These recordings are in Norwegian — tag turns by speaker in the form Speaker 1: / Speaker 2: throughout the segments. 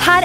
Speaker 1: her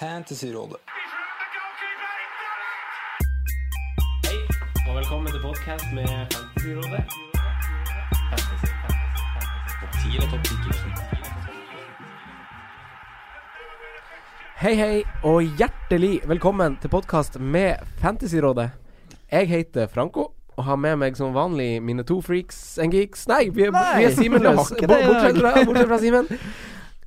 Speaker 2: Fantasyrådet.
Speaker 3: Og velkommen til podcast med Fantasyrådet. Hei, hei, og hjertelig velkommen til podkast med Fantasyrådet. Jeg heter Franco og har med meg som vanlig mine to freaks and geeks. Nei, vi er, vi er Simenløs. Bo- Bortsett fra, bortsett fra Simen.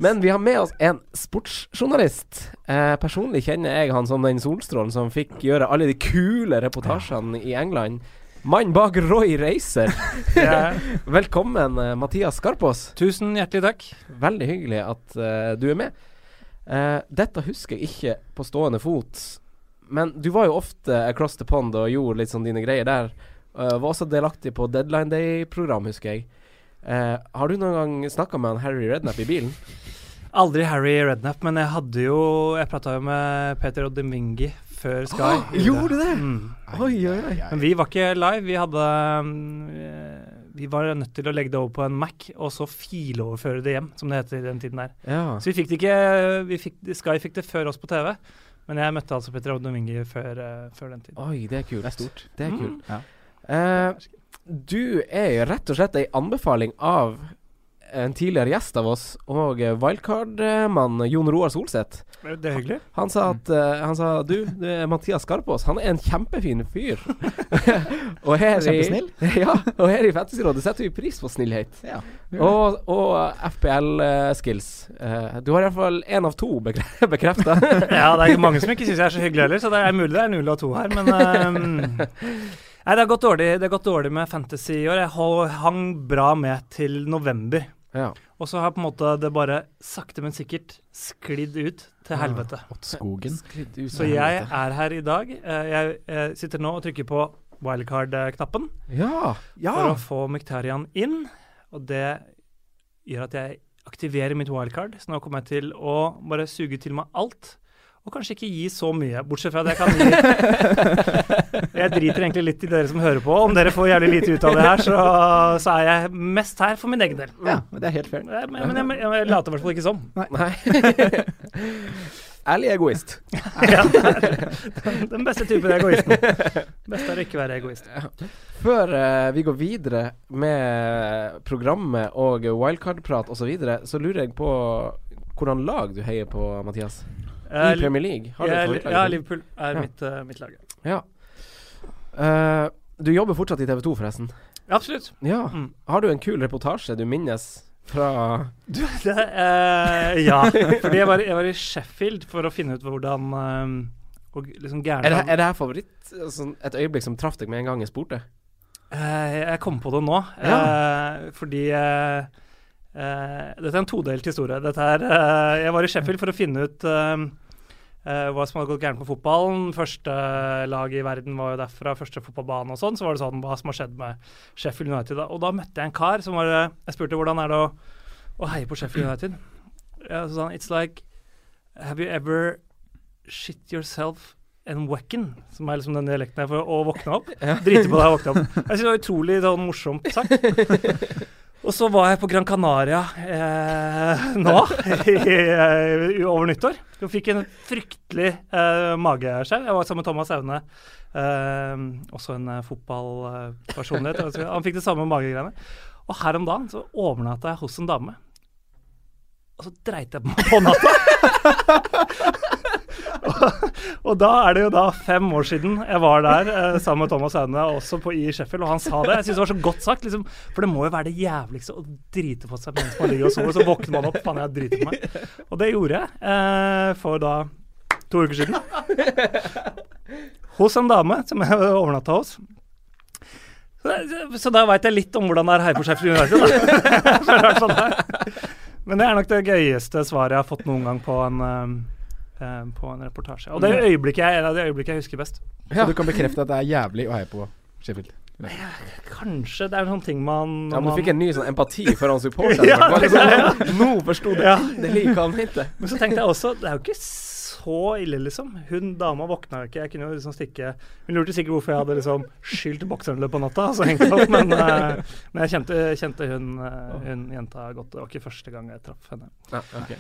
Speaker 3: Men vi har med oss en sportsjournalist. Eh, personlig kjenner jeg han som den solstrålen som fikk gjøre alle de kule reportasjene i England. Mann bak Roy Racer. Velkommen, eh, Mathias Skarpås.
Speaker 2: Tusen hjertelig takk.
Speaker 3: Veldig hyggelig at eh, du er med. Eh, dette husker jeg ikke på stående fot, men du var jo ofte across the pond og gjorde litt sånn dine greier der. Eh, var også delaktig på Deadline Day-program, husker jeg. Eh, har du noen gang snakka med han Harry Rednap i bilen?
Speaker 2: Aldri Harry Rednap, men jeg hadde jo Jeg prata jo med Peter Oddemingi før Sky.
Speaker 3: Ah, Gjorde du det?
Speaker 2: Mm.
Speaker 3: Oi, oi, oi.
Speaker 2: Men vi var ikke live. Vi hadde mm, Vi var nødt til å legge det over på en Mac, og så filoverføre det hjem, som det heter i den tiden her.
Speaker 3: Ja.
Speaker 2: Så vi fikk det ikke vi fikk, Sky fikk det før oss på TV, men jeg møtte altså Petter Oddemingi før, eh, før den tid.
Speaker 3: Oi, det er kult. Det er stort. Det er
Speaker 2: Mm.
Speaker 3: kult.
Speaker 4: Ja.
Speaker 3: Eh, du er jo rett og slett ei anbefaling av en tidligere gjest av oss og eh, wildcard-mann Jon Roar Solseth.
Speaker 2: Det er hyggelig.
Speaker 3: Han sa at
Speaker 4: Mm.
Speaker 3: eh, han sa, du, du er Mathias Skarpås, han er en kjempefin fyr. og her i, ja, og her i Fantasyrådet setter vi pris på snillhet.
Speaker 4: Ja,
Speaker 3: og og eh, FPL-skills. Eh, du har iallfall én av to bekre bekrefta.
Speaker 2: Ja, det er ikke mange som ikke syns jeg er så hyggelig heller, så det er mulig det er null av to her, men ehm, Nei, det har gått dårlig, det har gått dårlig med fantasy i år. Jeg ho- hang bra med til november.
Speaker 3: ja.
Speaker 2: Og så har på en måte det bare sakte, men sikkert sklidd ut til helvete.
Speaker 4: Skogen.
Speaker 3: Skritt ut
Speaker 2: Så
Speaker 3: av
Speaker 2: jeg
Speaker 3: helvete.
Speaker 2: er her i dag. Eh, Jeg eh, sitter nå og trykker på wildcard-knappen
Speaker 3: Ja! Ah!
Speaker 2: for å få Mktarian inn. Og det gjør at jeg aktiverer mitt wildcard, så nå kommer jeg til å bare suge til meg alt. Og kanskje ikke gi så mye, bortsett fra at jeg kan gi Jeg driter egentlig litt i dere som hører på. Om dere får jævlig lite ut av det her, så, så er jeg mest her for min egen del.
Speaker 4: Ja, men det er helt fair.
Speaker 2: Eh, Men, men jeg, jeg later i hvert fall ikke som.
Speaker 3: Nei. Ærlig egoist.
Speaker 2: Ja. Den beste typen egoisten. Best er å ikke være egoist.
Speaker 3: Før eh, vi går videre med eh, programmet og wildcard-prat osv., så, videre, så lurer jeg på hvordan lag du heier på, Mathias? I
Speaker 2: Eh,
Speaker 3: Premier League? Har du et
Speaker 2: jeg,
Speaker 3: favorittlag?
Speaker 2: ja, Liverpool er
Speaker 3: Ja.
Speaker 2: mitt, eh, mitt lag.
Speaker 3: Ja. Eh, du jobber fortsatt i TV 2, forresten.
Speaker 2: Absolutt.
Speaker 3: Ja.
Speaker 2: Mm.
Speaker 3: Har du en kul reportasje du minnes fra
Speaker 2: Det, eh, ja, fordi jeg var, jeg var i Sheffield for å finne ut hvordan eh, og liksom
Speaker 3: Er det,
Speaker 2: gærne
Speaker 3: er det her favoritt? Sånn, et øyeblikk som traff deg med en gang jeg spurte?
Speaker 2: Eh, Jeg kom på det nå, eh, fordi eh, eh, Dette er en todelt historie. Dette er, eh, jeg var i Sheffield for å finne ut eh, eh, hva som hadde gått gærent med fotballen. Første eh, lag i verden var jo derfra, første fotballbane og sånn. Så var det sånn hva som har skjedd med Sheffield United. da. Og da møtte jeg en kar som var eh, Jeg spurte hvordan er det å, å heie på Sheffield United. Ja, så sa han It's like Have you ever shit yourself and wacken? Som er liksom den dialekten her for å våkne opp. Drite på deg og våkne opp. Jeg synes det var utrolig sånn morsomt sagt. Og så var jeg på Gran Canaria eh, nå, i, eh, over nyttår. Og fikk en fryktelig eh, mageskjev. Jeg var sammen med Thomas Aune, eh, også en eh, fotballpersonlighet. Altså, Han fikk det samme magegreiene. Og her om dagen så overnatta jeg hos en dame. Og så dreit jeg på meg på natta. Og da er det jo da fem år siden jeg var der eh, sammen med Thomas Aune, også på i Sheffield, og han sa det. Jeg syns det var så godt sagt, liksom. For det må jo være det jævligste å drite på seg mens man ligger og sover, så våkner man opp, faen, jeg har driti på meg. Og det gjorde jeg eh, for da to uker siden. Hos en dame som jeg overnatta hos. Så da- Så da veit jeg litt om hvordan det er her på Sheffield United, da. For det er sånn det er. Men det er nok det gøyeste svaret jeg har fått noen gang på en eh, eh, på en reportasje. Og det er øyeblikket jeg, det er det øyeblikket jeg husker best.
Speaker 4: Så du kan bekrefte at det er jævlig å heie på Sheffield.
Speaker 2: Kanskje det er en sånn ting man
Speaker 3: Ja, men
Speaker 2: man-
Speaker 3: du fikk en ny sånn empati for han supporteren.
Speaker 2: Ja,
Speaker 3: Det var
Speaker 2: det-
Speaker 3: liksom, Nå forsto du
Speaker 2: Ja.
Speaker 3: endelig hva han mente.
Speaker 2: Men så tenkte jeg også, det er jo ikke så ille, liksom. Hun dama våkna jo ikke, jeg kunne jo liksom stikke Hun lurte sikkert hvorfor jeg hadde liksom skylt bokseren løpet på natta, og så hengte jeg opp, men, eh, men jeg kjente, kjente hun, eh, hun jenta godt. Det var ikke første gang jeg traff henne.
Speaker 3: Ja, ok.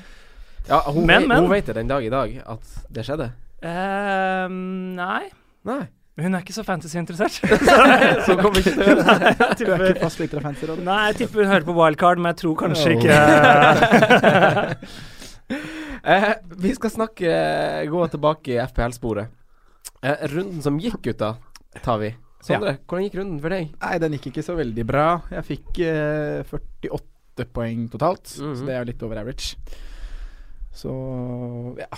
Speaker 3: ja hun,
Speaker 2: Men,
Speaker 3: men,
Speaker 2: men.
Speaker 3: hun vet det den dag i dag, at det skjedde.
Speaker 2: Eh, nei.
Speaker 3: Nei.
Speaker 2: Men Hun er ikke så fantasy-interessert.
Speaker 3: Så kom ikke til å gjøre det.
Speaker 2: Jeg
Speaker 4: Du er
Speaker 2: tipper-
Speaker 4: ikke fast lytter av fancyrådet?
Speaker 2: Nei, jeg tipper hun hører på Wildcard, men jeg tror kanskje
Speaker 4: Oh.
Speaker 2: ikke
Speaker 3: Eh, vi skal snakke eh, gå tilbake i FPL-sporet. Eh, runden som gikk, gutta, tar vi. Sondre, hvordan gikk runden for deg?
Speaker 4: Nei, den gikk ikke så veldig bra. Jeg fikk eh, 48 poeng totalt,
Speaker 3: Mhm.
Speaker 4: så det er jo litt over average. Så ja.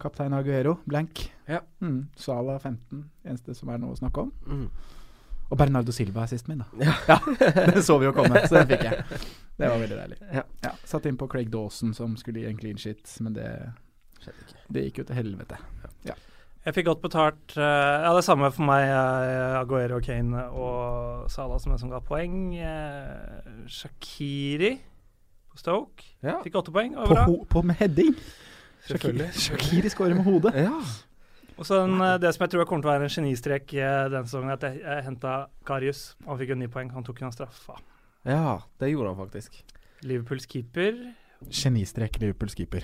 Speaker 4: Kaptein Aguero, blank.
Speaker 3: Ja.
Speaker 4: Mm, Sala 15, eneste som er noe å snakke om.
Speaker 3: Mm.
Speaker 4: Og Bernardo Silva er sisten min, da. Ja. Den så vi jo komme, så den fikk jeg. Det var veldig deilig.
Speaker 3: Ja.
Speaker 4: Satt inn på Craig Dawson, som skulle gi en clean shit, men det Det gikk jo til helvete.
Speaker 2: Jeg fikk godt betalt. eh, ja, det samme for meg. eh, Aguero, Kane og Salah som en som ga poeng. eh, Shakiri på Stoke
Speaker 3: Ja.
Speaker 2: fikk åtte poeng. Og
Speaker 4: På,
Speaker 2: bra.
Speaker 4: ho på med heading! Shakiri- Shakiri scorer med hodet.
Speaker 3: Ja.
Speaker 2: Og så en, eh, det som jeg tror kommer til å være en genistrek eh, denne sesongen, er at jeg, jeg henta Karius. Han fikk jo ni poeng. Han tok unna straffa.
Speaker 3: ja, det gjorde han faktisk.
Speaker 2: Liverpools keeper.
Speaker 4: Genistrek Liverpools keeper.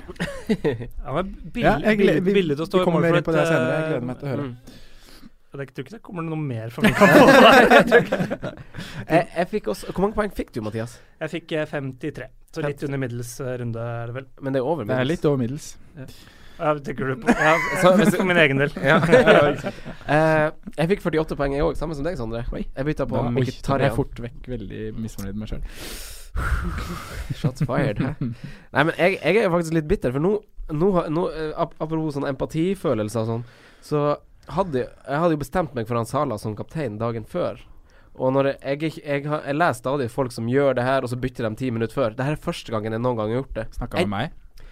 Speaker 2: Han var billig,
Speaker 4: Ja, jeg gleder-
Speaker 2: billig, billig til å stå
Speaker 4: vi
Speaker 2: i mål
Speaker 4: kommer mer
Speaker 2: for
Speaker 4: inn
Speaker 2: et,
Speaker 4: på det senere. Jeg
Speaker 2: eh,
Speaker 4: gleder meg til å høre.
Speaker 3: Mm.
Speaker 2: Jeg tror ikke det kommer noe mer fra min kamp.
Speaker 3: Jeg, Eh, jeg fikk også, hvor mange poeng fikk du, Mathias?
Speaker 2: Jeg fikk eh, 53. Så litt under middels eh, runde, er det vel.
Speaker 3: Men det er over.
Speaker 4: Det er litt over middels.
Speaker 2: Ja, tenker du på ja,
Speaker 3: Så hvis-
Speaker 2: For min egen del.
Speaker 3: Ja. Eh, jeg fikk 48 poeng, jeg òg. Samme som deg, Sondre.
Speaker 4: Oi.
Speaker 3: Jeg bytta på
Speaker 4: Da oi, da ble jeg
Speaker 3: Mkhitaryan.
Speaker 4: fort vekk veldig misfornøyd med meg sjøl.
Speaker 3: Shots fired. Hæ? Nei, men jeg, jeg er jo faktisk litt bitter, for nå, nå, har- nå eh, ap Apropos sånn empatifølelse og sånn, så hadde jeg jeg hadde jo bestemt meg for han Sala som kaptein dagen før. Og når jeg, jeg, jeg, har- jeg leser stadig folk som gjør det her, og så bytter de ti minutter før. Det her er første gangen jeg noen gang har gjort det.
Speaker 4: Snakka med meg?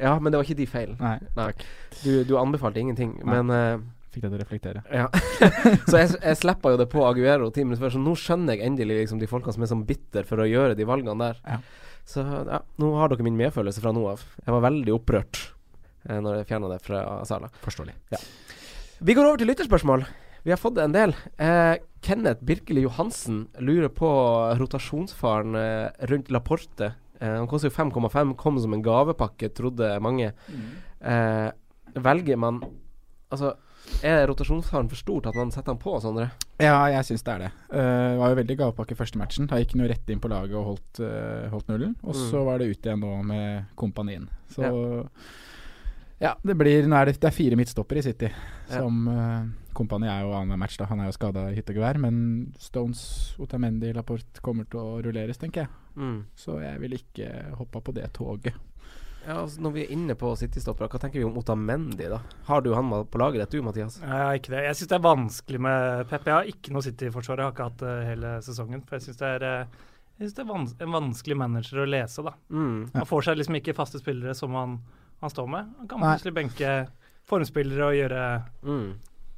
Speaker 3: Ja, men det var ikke de feil.
Speaker 4: Nei.
Speaker 3: Nei. Du, du anbefalte ingenting,
Speaker 4: Nei.
Speaker 3: men eh,
Speaker 4: Fikk deg til å reflektere.
Speaker 3: Ja. så jeg, jeg slippa jo det på Aguero ti minutter før, så nå skjønner jeg endelig liksom de folkene som er sånn bitter for å gjøre de valgene der.
Speaker 4: Ja.
Speaker 3: Så ja, nå har dere min medfølelse fra nå av. Jeg var veldig opprørt eh, når jeg fjerna det fra Sala.
Speaker 4: Forståelig.
Speaker 3: Vi går over til lytterspørsmål. Vi har fått en del. Eh, Kenneth Birkeli Johansen lurer på rotasjonsfaren eh, rundt Laporte. Eh, han koster jo 5,5, kom som en gavepakke, trodde mange.
Speaker 4: Mm.
Speaker 3: Eh, velger man Altså, er rotasjonsfaren for stor til at man setter han på, Sondre?
Speaker 4: Ja, jeg syns det er det. Eh, var jo veldig gavepakke første matchen. Da gikk han jo rett inn på laget og holdt, eh, holdt nullen. Og så var det ut igjen nå med kompanien. Så ja. det blir Nå er det, det er fire midtstoppere i City.
Speaker 3: Ja.
Speaker 4: Som eh, Kompani er jo annenhver match, da. Han er jo skada i hytte og gevær. Men Stones, Otamendi, Laporte kommer til å rulleres, tenker jeg. Så jeg ville ikke hoppa på det toget.
Speaker 3: Ja, altså Når vi er inne på City-stoppere, hva tenker vi om Otamendi, da? Har du han ma- på laget ditt, du, Mathias?
Speaker 2: Nei, jeg har ikke det. Jeg syns det er vanskelig med Pep. Jeg har ikke noe City-forsvar. Jeg har ikke hatt det hele sesongen. For jeg syns det er, eh, jeg synes det er vans en vanskelig manager å lese, da.
Speaker 3: Mm.
Speaker 2: Han får seg liksom ikke faste spillere som han, han står med. Han kan
Speaker 4: Nei.
Speaker 2: plutselig benke formspillere og gjøre
Speaker 3: Mm.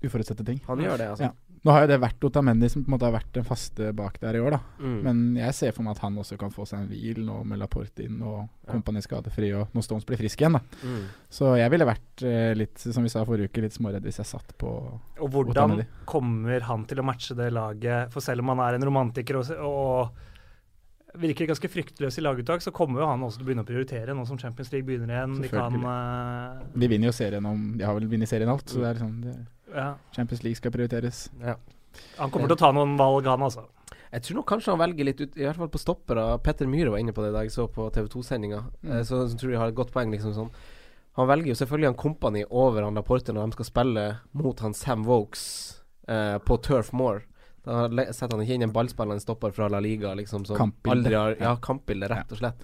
Speaker 4: Uforutsette ting.
Speaker 3: Han gjør det, altså.
Speaker 4: Ja. Nå har jo det vært Otamendi som på en måte har vært den faste bak der i år, da.
Speaker 3: Mm.
Speaker 4: Men jeg ser for meg at han også kan få seg en hvil nå med Laporte inn og
Speaker 3: Ja.
Speaker 4: Kompani skadefri og når Stones blir frisk igjen, da.
Speaker 3: Mm.
Speaker 4: Så jeg ville vært eh, litt, som vi sa forrige uke, litt småredd hvis jeg satt på
Speaker 2: Og hvordan
Speaker 4: Otamendi.
Speaker 2: kommer han til å matche det laget? For selv om han er en romantiker og, og virker ganske fryktløs i laguttak, så kommer jo han også til å begynne å prioritere nå som Champions League begynner igjen. De kan eh,
Speaker 4: Vi vinner jo serien om De har vel vunnet serien
Speaker 3: Mm.
Speaker 4: alt, så det er liksom det,
Speaker 2: ja.
Speaker 4: Champions League skal prioriteres.
Speaker 3: Ja.
Speaker 2: Han kommer til å ta noen valg, han altså.
Speaker 3: Jeg tror nok kanskje han velger litt ut, i hvert fall på Mm. stoppere. Petter Myhre var inne på det da jeg så på TV 2-sendinga, eh, så, så tror jeg de har et godt poeng, liksom sånn. Han velger jo selvfølgelig han Company over han Laporte når de skal spille mot han Sam Vokes eh, på Turf Moor. Da le- setter han ikke inn en ballspiller, en stopper fra La Liga, liksom, som
Speaker 4: Kampbilde.
Speaker 3: aldri har Ja, kampbilde, rett og slett.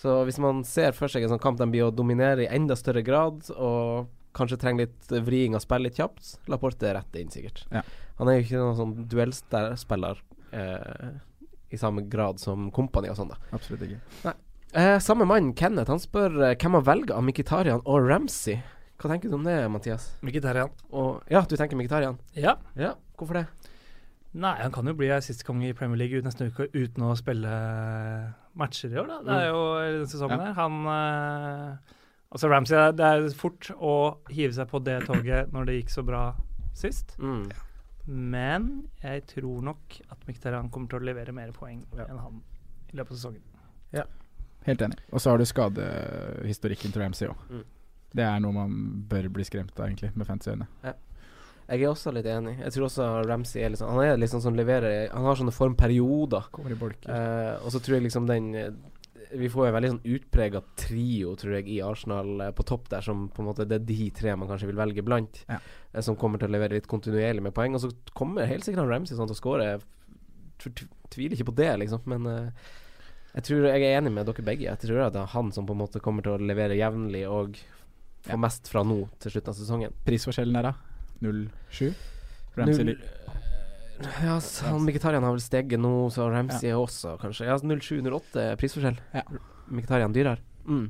Speaker 3: Så hvis man ser for seg en sånn kamp de blir å dominere i enda større grad, og kanskje trenger litt vriing og spille litt kjapt, Laporte er rett inn, sikkert.
Speaker 4: Ja.
Speaker 3: Han er jo ikke noen sånn duellspiller eh, i samme grad som Company og sånn, da.
Speaker 4: Absolutt ikke.
Speaker 3: Eh, samme mann, Kenneth, han spør eh, hvem han velger av Mkhitarian og Ramsey. Hva tenker du om det, Mathias?
Speaker 2: Mkhitaryan.
Speaker 3: Og, ja, du tenker Mkhitarian?
Speaker 2: Ja.
Speaker 3: Ja, hvorfor det?
Speaker 2: Nei, han kan jo bli assistange i Premier League ut neste uke uten å spille eh, matcher i år, da. Det er jo denne sesongen her. Han eh, Altså, Ramsey, det er- det er fort å hive seg på det toget når det gikk så bra sist.
Speaker 3: Mm.
Speaker 2: Men jeg tror nok at Mkhitarian kommer til å levere mer poeng enn han i løpet av sesongen.
Speaker 4: Helt enig. Og så har du skadehistorikken til Ramsey òg.
Speaker 3: Mm.
Speaker 4: Det er noe man bør bli skremt av, egentlig, med fancy-øyne.
Speaker 3: Jeg er også litt enig. Jeg tror også Ramsey er litt sånn Han er litt sånn som leverer Han har sånne formperioder.
Speaker 4: Kommer i bolker.
Speaker 3: Eh, og så tror jeg liksom den eh, Vi får en veldig sånn utprega trio, tror jeg, i Arsenal eh, på topp der, som på en måte det er de tre man kanskje vil velge blant.
Speaker 4: Ja.
Speaker 3: eh, som kommer til å levere litt kontinuerlig med poeng. Og så kommer helt sikkert han Ramsey sånn til å skåre. Jeg tv- tviler ikke på det, liksom. Men eh, jeg tror jeg er enig med dere begge. Jeg tror at det er han som på en måte kommer til å levere jevnlig og få mest fra nå til slutten av sesongen.
Speaker 4: Prisforskjellen er da 0,7. Ramsey
Speaker 3: Null- Ja, så han Mkhitarian har vel steget nå, så Ramsey er også kanskje Eh, altså. Ja, 07-08 prisforskjell.
Speaker 4: Ja.
Speaker 3: Mkhitarian dyrere. Mm.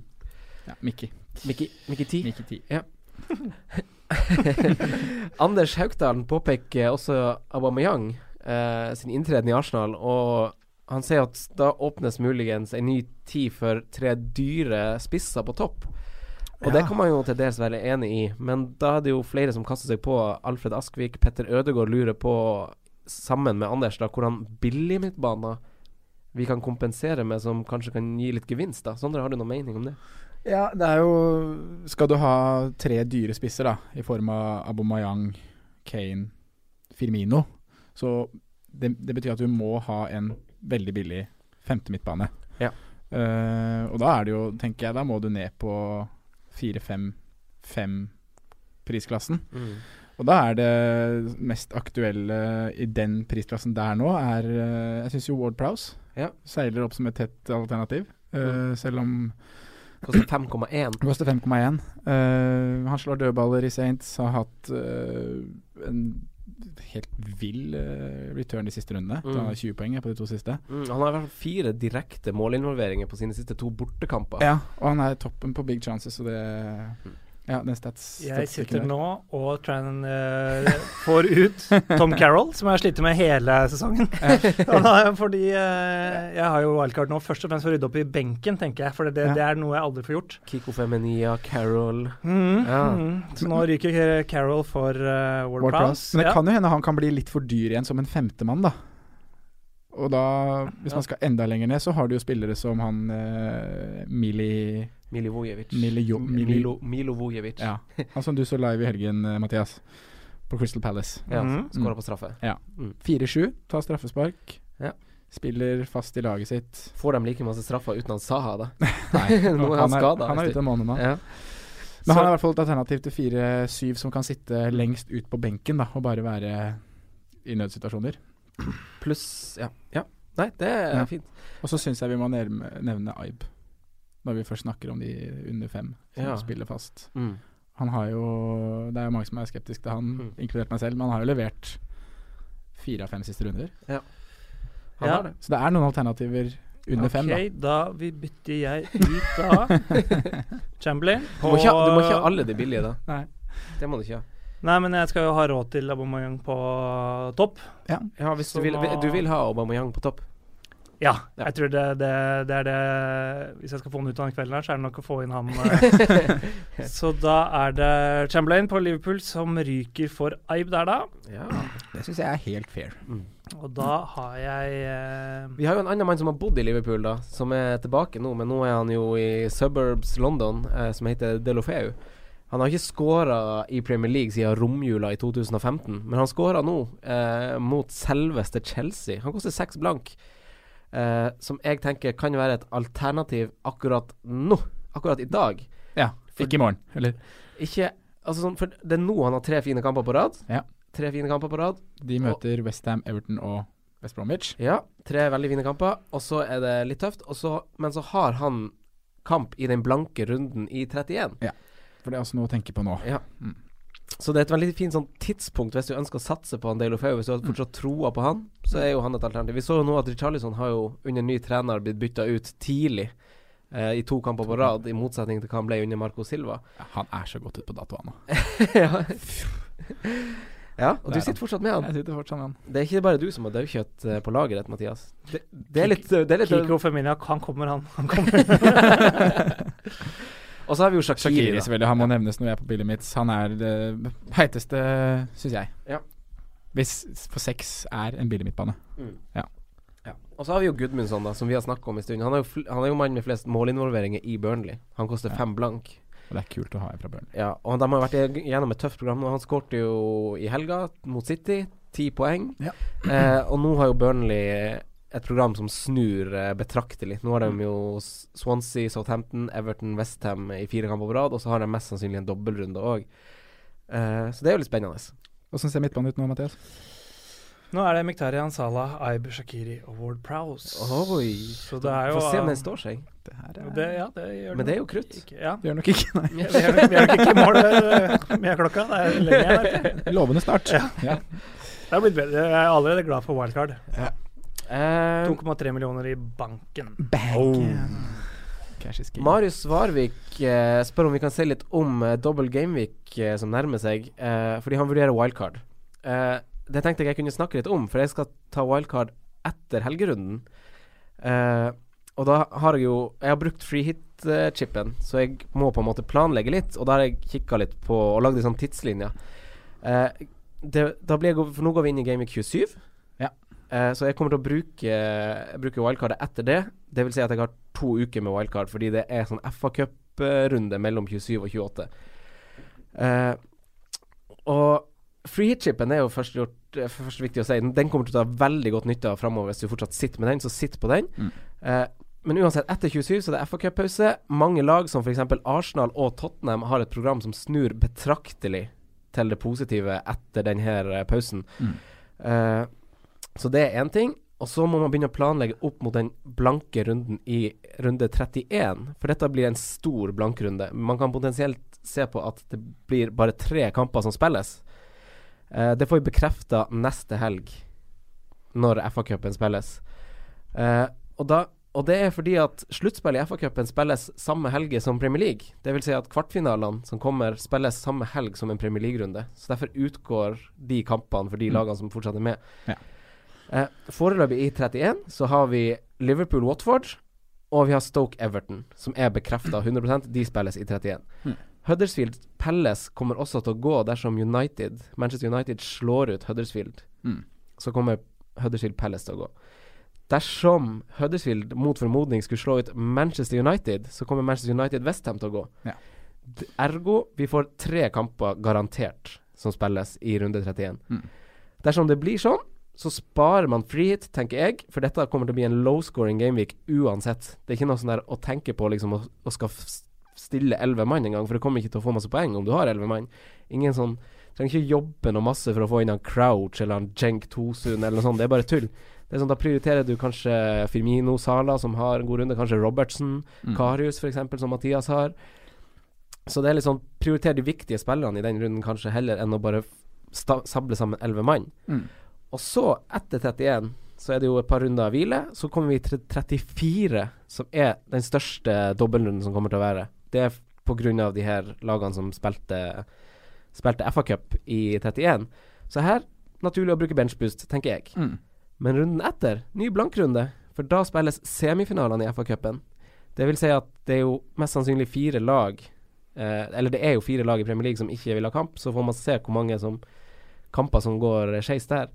Speaker 4: ja, Mickey.
Speaker 3: Mikki, Mikki 10.
Speaker 4: Mickey 10.
Speaker 3: Anders Haugdalen påpeker også Aubameyang eh, sin inntreden i Arsenal, og han sier at da åpnes muligens en ny tid for tre dyre spisser på topp. Og det
Speaker 4: Ja.
Speaker 3: kan man jo til dels være enig i, men da er det jo flere som kaster seg på. Alfred Askvik, Petter Ødegaard lurer på, sammen med Anders, da, hvordan billig midtbaner vi kan kompensere med, som kanskje kan gi litt gevinst. da Sondre, har du noen mening om det?
Speaker 4: Ja, det er jo Skal du ha tre dyre spisser, da, i form av Abomayang, Kane, Firmino, så det, det betyr at du må ha en veldig billig femte midtbane.
Speaker 3: Ja.
Speaker 4: Eh, og da er det jo, tenker jeg, da må du ned på fire-fem-fem-prisklassen. Mm. Og da er det mest aktuelle i den prisklassen der nå, er eh, Jeg syns jo Ward Prowse
Speaker 3: Ja. Mm.
Speaker 4: seiler opp som et tett alternativ. eh, Selv om
Speaker 3: Koster 5,1.
Speaker 4: det Koster 5,1. Eh, han slår dødballer i Saints. Har hatt eh, en helt vill eh, return de siste rundene.
Speaker 3: Mm.
Speaker 4: Han har 20 poeng eh, på de to siste.
Speaker 3: Mm, han har i hvert fall fire direkte målinvolveringer på sine siste to bortekamper.
Speaker 4: Ja, og han er toppen på big chances, så det Ja, den stats
Speaker 2: Jeg
Speaker 4: statistikken
Speaker 2: sitter
Speaker 4: der.
Speaker 2: nå og tran, eh, får ut Tom Carroll, som jeg har slitt med hele sesongen. Og da- Fordi eh, jeg har jo wildcard nå først og fremst for å rydde opp i benken, tenker jeg. For det, det er noe jeg aldri får gjort.
Speaker 3: Kiko Femenia, Carol
Speaker 2: Mhm,
Speaker 3: Ja.
Speaker 2: mhm. Så nå ryker Carroll for uh, Ward
Speaker 4: Ward Prowse.
Speaker 2: Prowse.
Speaker 4: Men det
Speaker 2: Ja.
Speaker 4: kan jo hende han kan bli litt for dyr igjen som en femtemann, da. Og da, hvis man skal enda lenger ned, så har du jo spillere som han eh, Mili,
Speaker 3: Milivojevic.
Speaker 4: Milio, Mili
Speaker 3: Milo, Milo Vujevic.
Speaker 4: Ja. Han som du så live i helgen, eh, Mathias. På Crystal Palace.
Speaker 3: Ja,
Speaker 2: Mhm.
Speaker 3: Skåra på straffe.
Speaker 4: 4-7, tar straffespark.
Speaker 3: Ja.
Speaker 4: Spiller fast i laget sitt.
Speaker 3: Får de like masse straffer uten han Saha, da?
Speaker 4: Nei,
Speaker 3: Nå er han skadet,
Speaker 4: Han er
Speaker 3: visst.
Speaker 4: ute en måned nå.
Speaker 3: Ja.
Speaker 4: Men han
Speaker 3: Så-
Speaker 4: er i hvert fall et alternativ til 4-7, som kan sitte lengst ut på benken da, og bare være i nødsituasjoner.
Speaker 3: Pluss ja. ja. Nei, det er
Speaker 4: Ja.
Speaker 3: fint.
Speaker 4: Og så syns jeg vi må nevne, nevne Aib, når vi først snakker om de under fem som
Speaker 3: Ja.
Speaker 4: spiller fast.
Speaker 3: Mm.
Speaker 4: Han har jo Det er jo mange som er skeptiske til han,
Speaker 3: Mm.
Speaker 4: inkludert meg selv, men han har jo levert fire av fem siste runder.
Speaker 3: Han
Speaker 2: Ja.
Speaker 3: har det.
Speaker 4: Så det er noen alternativer under fem, da.
Speaker 2: Ok, da vi bytter jeg ut da Chamberlain.
Speaker 3: Du må, ikke, ha- du må ikke ha
Speaker 2: og-
Speaker 3: alle de billige, da.
Speaker 4: Nei.
Speaker 3: Det må du ikke ha.
Speaker 2: Nei, men jeg skal jo ha råd til Aubameyang på topp.
Speaker 3: Ja, hvis du
Speaker 2: Så
Speaker 3: vil,
Speaker 2: da-
Speaker 3: du vil ha Aubameyang på topp.
Speaker 2: Ja,
Speaker 3: Ja.
Speaker 2: jeg tror det, det, det er det Hvis jeg skal få han ut av den kvelden her, så er det nok å få inn ham. eh. så da er det Chamberlain på Liverpool som ryker for Aib der, da.
Speaker 3: Ja.
Speaker 4: Det syns jeg er helt fair.
Speaker 2: Og da har jeg eh,
Speaker 3: Vi har jo en annen mann som har bodd i Liverpool, da, som er tilbake nå, men nå er han jo i suburbs London, eh, som heter Delofeu. Han har ikke skåra i Premier League siden romjula i 2015, men han skåra nå eh, mot selveste Chelsea. Han koster seks blank, eh, som jeg tenker kan være et alternativ akkurat nå, akkurat i dag.
Speaker 4: Ja, Ikke i morgen. Eller
Speaker 3: Ikke Altså sånn, for det er nå han har tre fine kamper på rad.
Speaker 4: Ja.
Speaker 3: Tre fine kamper på rad.
Speaker 4: de møter Westham, Everton og West Bromwich.
Speaker 3: Ja, tre veldig fine kamper, og så er det litt tøft. Og så, men så har han kamp i den blanke runden i 31.
Speaker 4: For det er også noe å tenke på nå.
Speaker 3: Så det er et veldig fint sånn tidspunkt hvis du ønsker å satse på han Dale Ofeu. Hvis du har fortsatt troa på han, så er jo han et alternativ. Vi så jo nå at Richarlison har jo under ny trener blitt bytta ut tidlig. eh, I to kamper på rad, i motsetning til hva han ble under Marco Silva.
Speaker 4: Ja, han er så godt ute på dato, han nå.
Speaker 3: ja. ja, og
Speaker 4: Der,
Speaker 3: du sitter fortsatt med han.
Speaker 4: Jeg sitter fortsatt med han.
Speaker 3: Det er ikke bare du som har daukjøtt eh, på lageret, Mathias. Det, det er litt, det er litt
Speaker 2: Kiko Feminiak, han kommer, han. han kommer.
Speaker 3: Og så har vi jo Shakiri.
Speaker 4: Shakiri,
Speaker 3: da.
Speaker 4: selvfølgelig. Han må nevnes når jeg er på bildet mitt. Han er det heiteste, syns jeg.
Speaker 3: Ja.
Speaker 4: Hvis på seks er en billig midtbane.
Speaker 3: Og så har vi jo Gudmundsson, da, som vi har snakket om en stund. Han er jo, fl han er jo mannen med flest målinvolveringer i Burnley. Han koster fem blank.
Speaker 4: Og det er kult å ha en fra Burnley.
Speaker 3: Ja, og de har vært ig- gjennom et tøft program nå. Han skårte jo i helga mot City, ti poeng.
Speaker 4: Ja.
Speaker 3: Eh, og nå har jo Burnley et program som snur eh, betraktelig. Nå har de jo S- Swansea, Southampton, Everton, Westham i fire kamper på rad, og så har de mest sannsynlig en dobbeltrunde òg. Eh, så det er jo litt spennende.
Speaker 4: Åssen ser midtbanen ut nå, Mathias?
Speaker 2: Nå er det Miktarian Salah, Aib Shakiri og Ward Prowse.
Speaker 3: Oi.
Speaker 2: Så det er jo
Speaker 3: Få se om
Speaker 2: eh,
Speaker 3: den står seg.
Speaker 4: Det her
Speaker 2: det, ja, det gjør
Speaker 3: Men det er jo krutt.
Speaker 2: Ikke, ja.
Speaker 4: Det gjør nok ikke, nei.
Speaker 2: Vi er nok- vi er nok ikke i mål eh, med klokka. Det er lenge igjen. vet du.
Speaker 4: Lovende start. Ja.
Speaker 2: Det har blitt bedre. Jeg er allerede glad for wildcard.
Speaker 3: Eh,
Speaker 2: 2,3 millioner i banken.
Speaker 4: Cash is king.
Speaker 3: Marius Svarvik eh, spør om vi kan se litt om eh, dobbel gameweek eh, som nærmer seg, eh, fordi han vurderer wildcard. Eh, det tenkte jeg jeg kunne snakke litt om, for jeg skal ta wildcard etter helgerunden. Eh, og da har jeg jo Jeg har brukt free hit-chipen, så jeg må på en måte planlegge litt, og da har jeg kikka litt på og lagd en sånn tidslinje. Eh, det, da blir jeg, go- for nå går vi inn i gameweek 27.
Speaker 4: Ja.
Speaker 3: Eh, så jeg kommer til å bruke, bruke wildcardet etter det. Det vil si at jeg har to uker med wildcard, fordi det er sånn FA-cup-runde mellom 27 og 28. Eh, og free hit-chipen er jo først, gjort, eh, først viktig å si. Den kommer til å ta veldig godt nytte av framover hvis du fortsatt sitter med den, så sitt på den. Eh, men uansett, etter 27 så det er FA-cup-pause. Mange lag som f.eks. Arsenal og Tottenham har et program som snur betraktelig til det positive etter denne pausen. Eh, så det er én ting. Og så må man begynne å planlegge opp mot den blanke runden i runde 31. For dette blir en stor blankrunde. Man kan potensielt se på at det blir bare tre kamper som spilles. Eh, det får vi bekrefta neste helg, når FA-cupen spilles. Eh, og, da, og det er fordi at sluttspillet i FA-cupen spilles samme helge som Premier League. Det vil si at kvartfinalene som kommer, spilles samme helg som en Premier League-runde. Så derfor utgår de kampene for de lagene som fortsatt er med.
Speaker 4: Ja.
Speaker 3: Eh, foreløpig i 31 så har vi Liverpool-Watford, og vi har Stoke-Everton, som er bekrefta 100 De spilles i 31. Huddersfield Pelles kommer også til å gå dersom United, Manchester United slår ut Huddersfield.
Speaker 4: Mm.
Speaker 3: Så kommer Huddersfield Pelles til å gå. Dersom Huddersfield mot formodning skulle slå ut Manchester United, så kommer Manchester United Westham til å gå.
Speaker 4: Ja.
Speaker 3: D- Ergo vi får tre kamper garantert som spilles i runde 31. Dersom det blir sånn, så sparer man frihet, tenker jeg, for dette kommer til å bli en low scoring gameweek uansett. Det er ikke noe sånn der å tenke på liksom å, å skal f- stille elleve mann engang, for du kommer ikke til å få masse poeng om du har elleve mann. Ingen sånn Trenger ikke jobbe noe masse for å få inn han Crouch eller han Jenk Tosun eller noe sånt, det er bare tull. Det er sånn, Da prioriterer du kanskje Firmino Sala, som har en god runde, kanskje Robertsen, Karius f.eks., som Mathias har. Så det er litt sånn prioriter de viktige spillerne i den runden kanskje heller enn å bare f- sta sable sammen elleve mann. Og så, etter 31, så er det jo et par runder av hvile. Så kommer vi til 34, som er den største dobbeltrunden som kommer til å være. Det er pga. de her lagene som spilte, spilte FA-cup i 31. Så her naturlig å bruke benchboost, tenker jeg.
Speaker 4: Mm.
Speaker 3: Men runden etter, ny blankrunde, for da spilles semifinalene i FA-cupen. Det vil si at det er jo mest sannsynlig fire lag eh, Eller det er jo fire lag i Premier League som ikke vil ha kamp, så får man se hvor mange som, kamper som går eh, skeis der.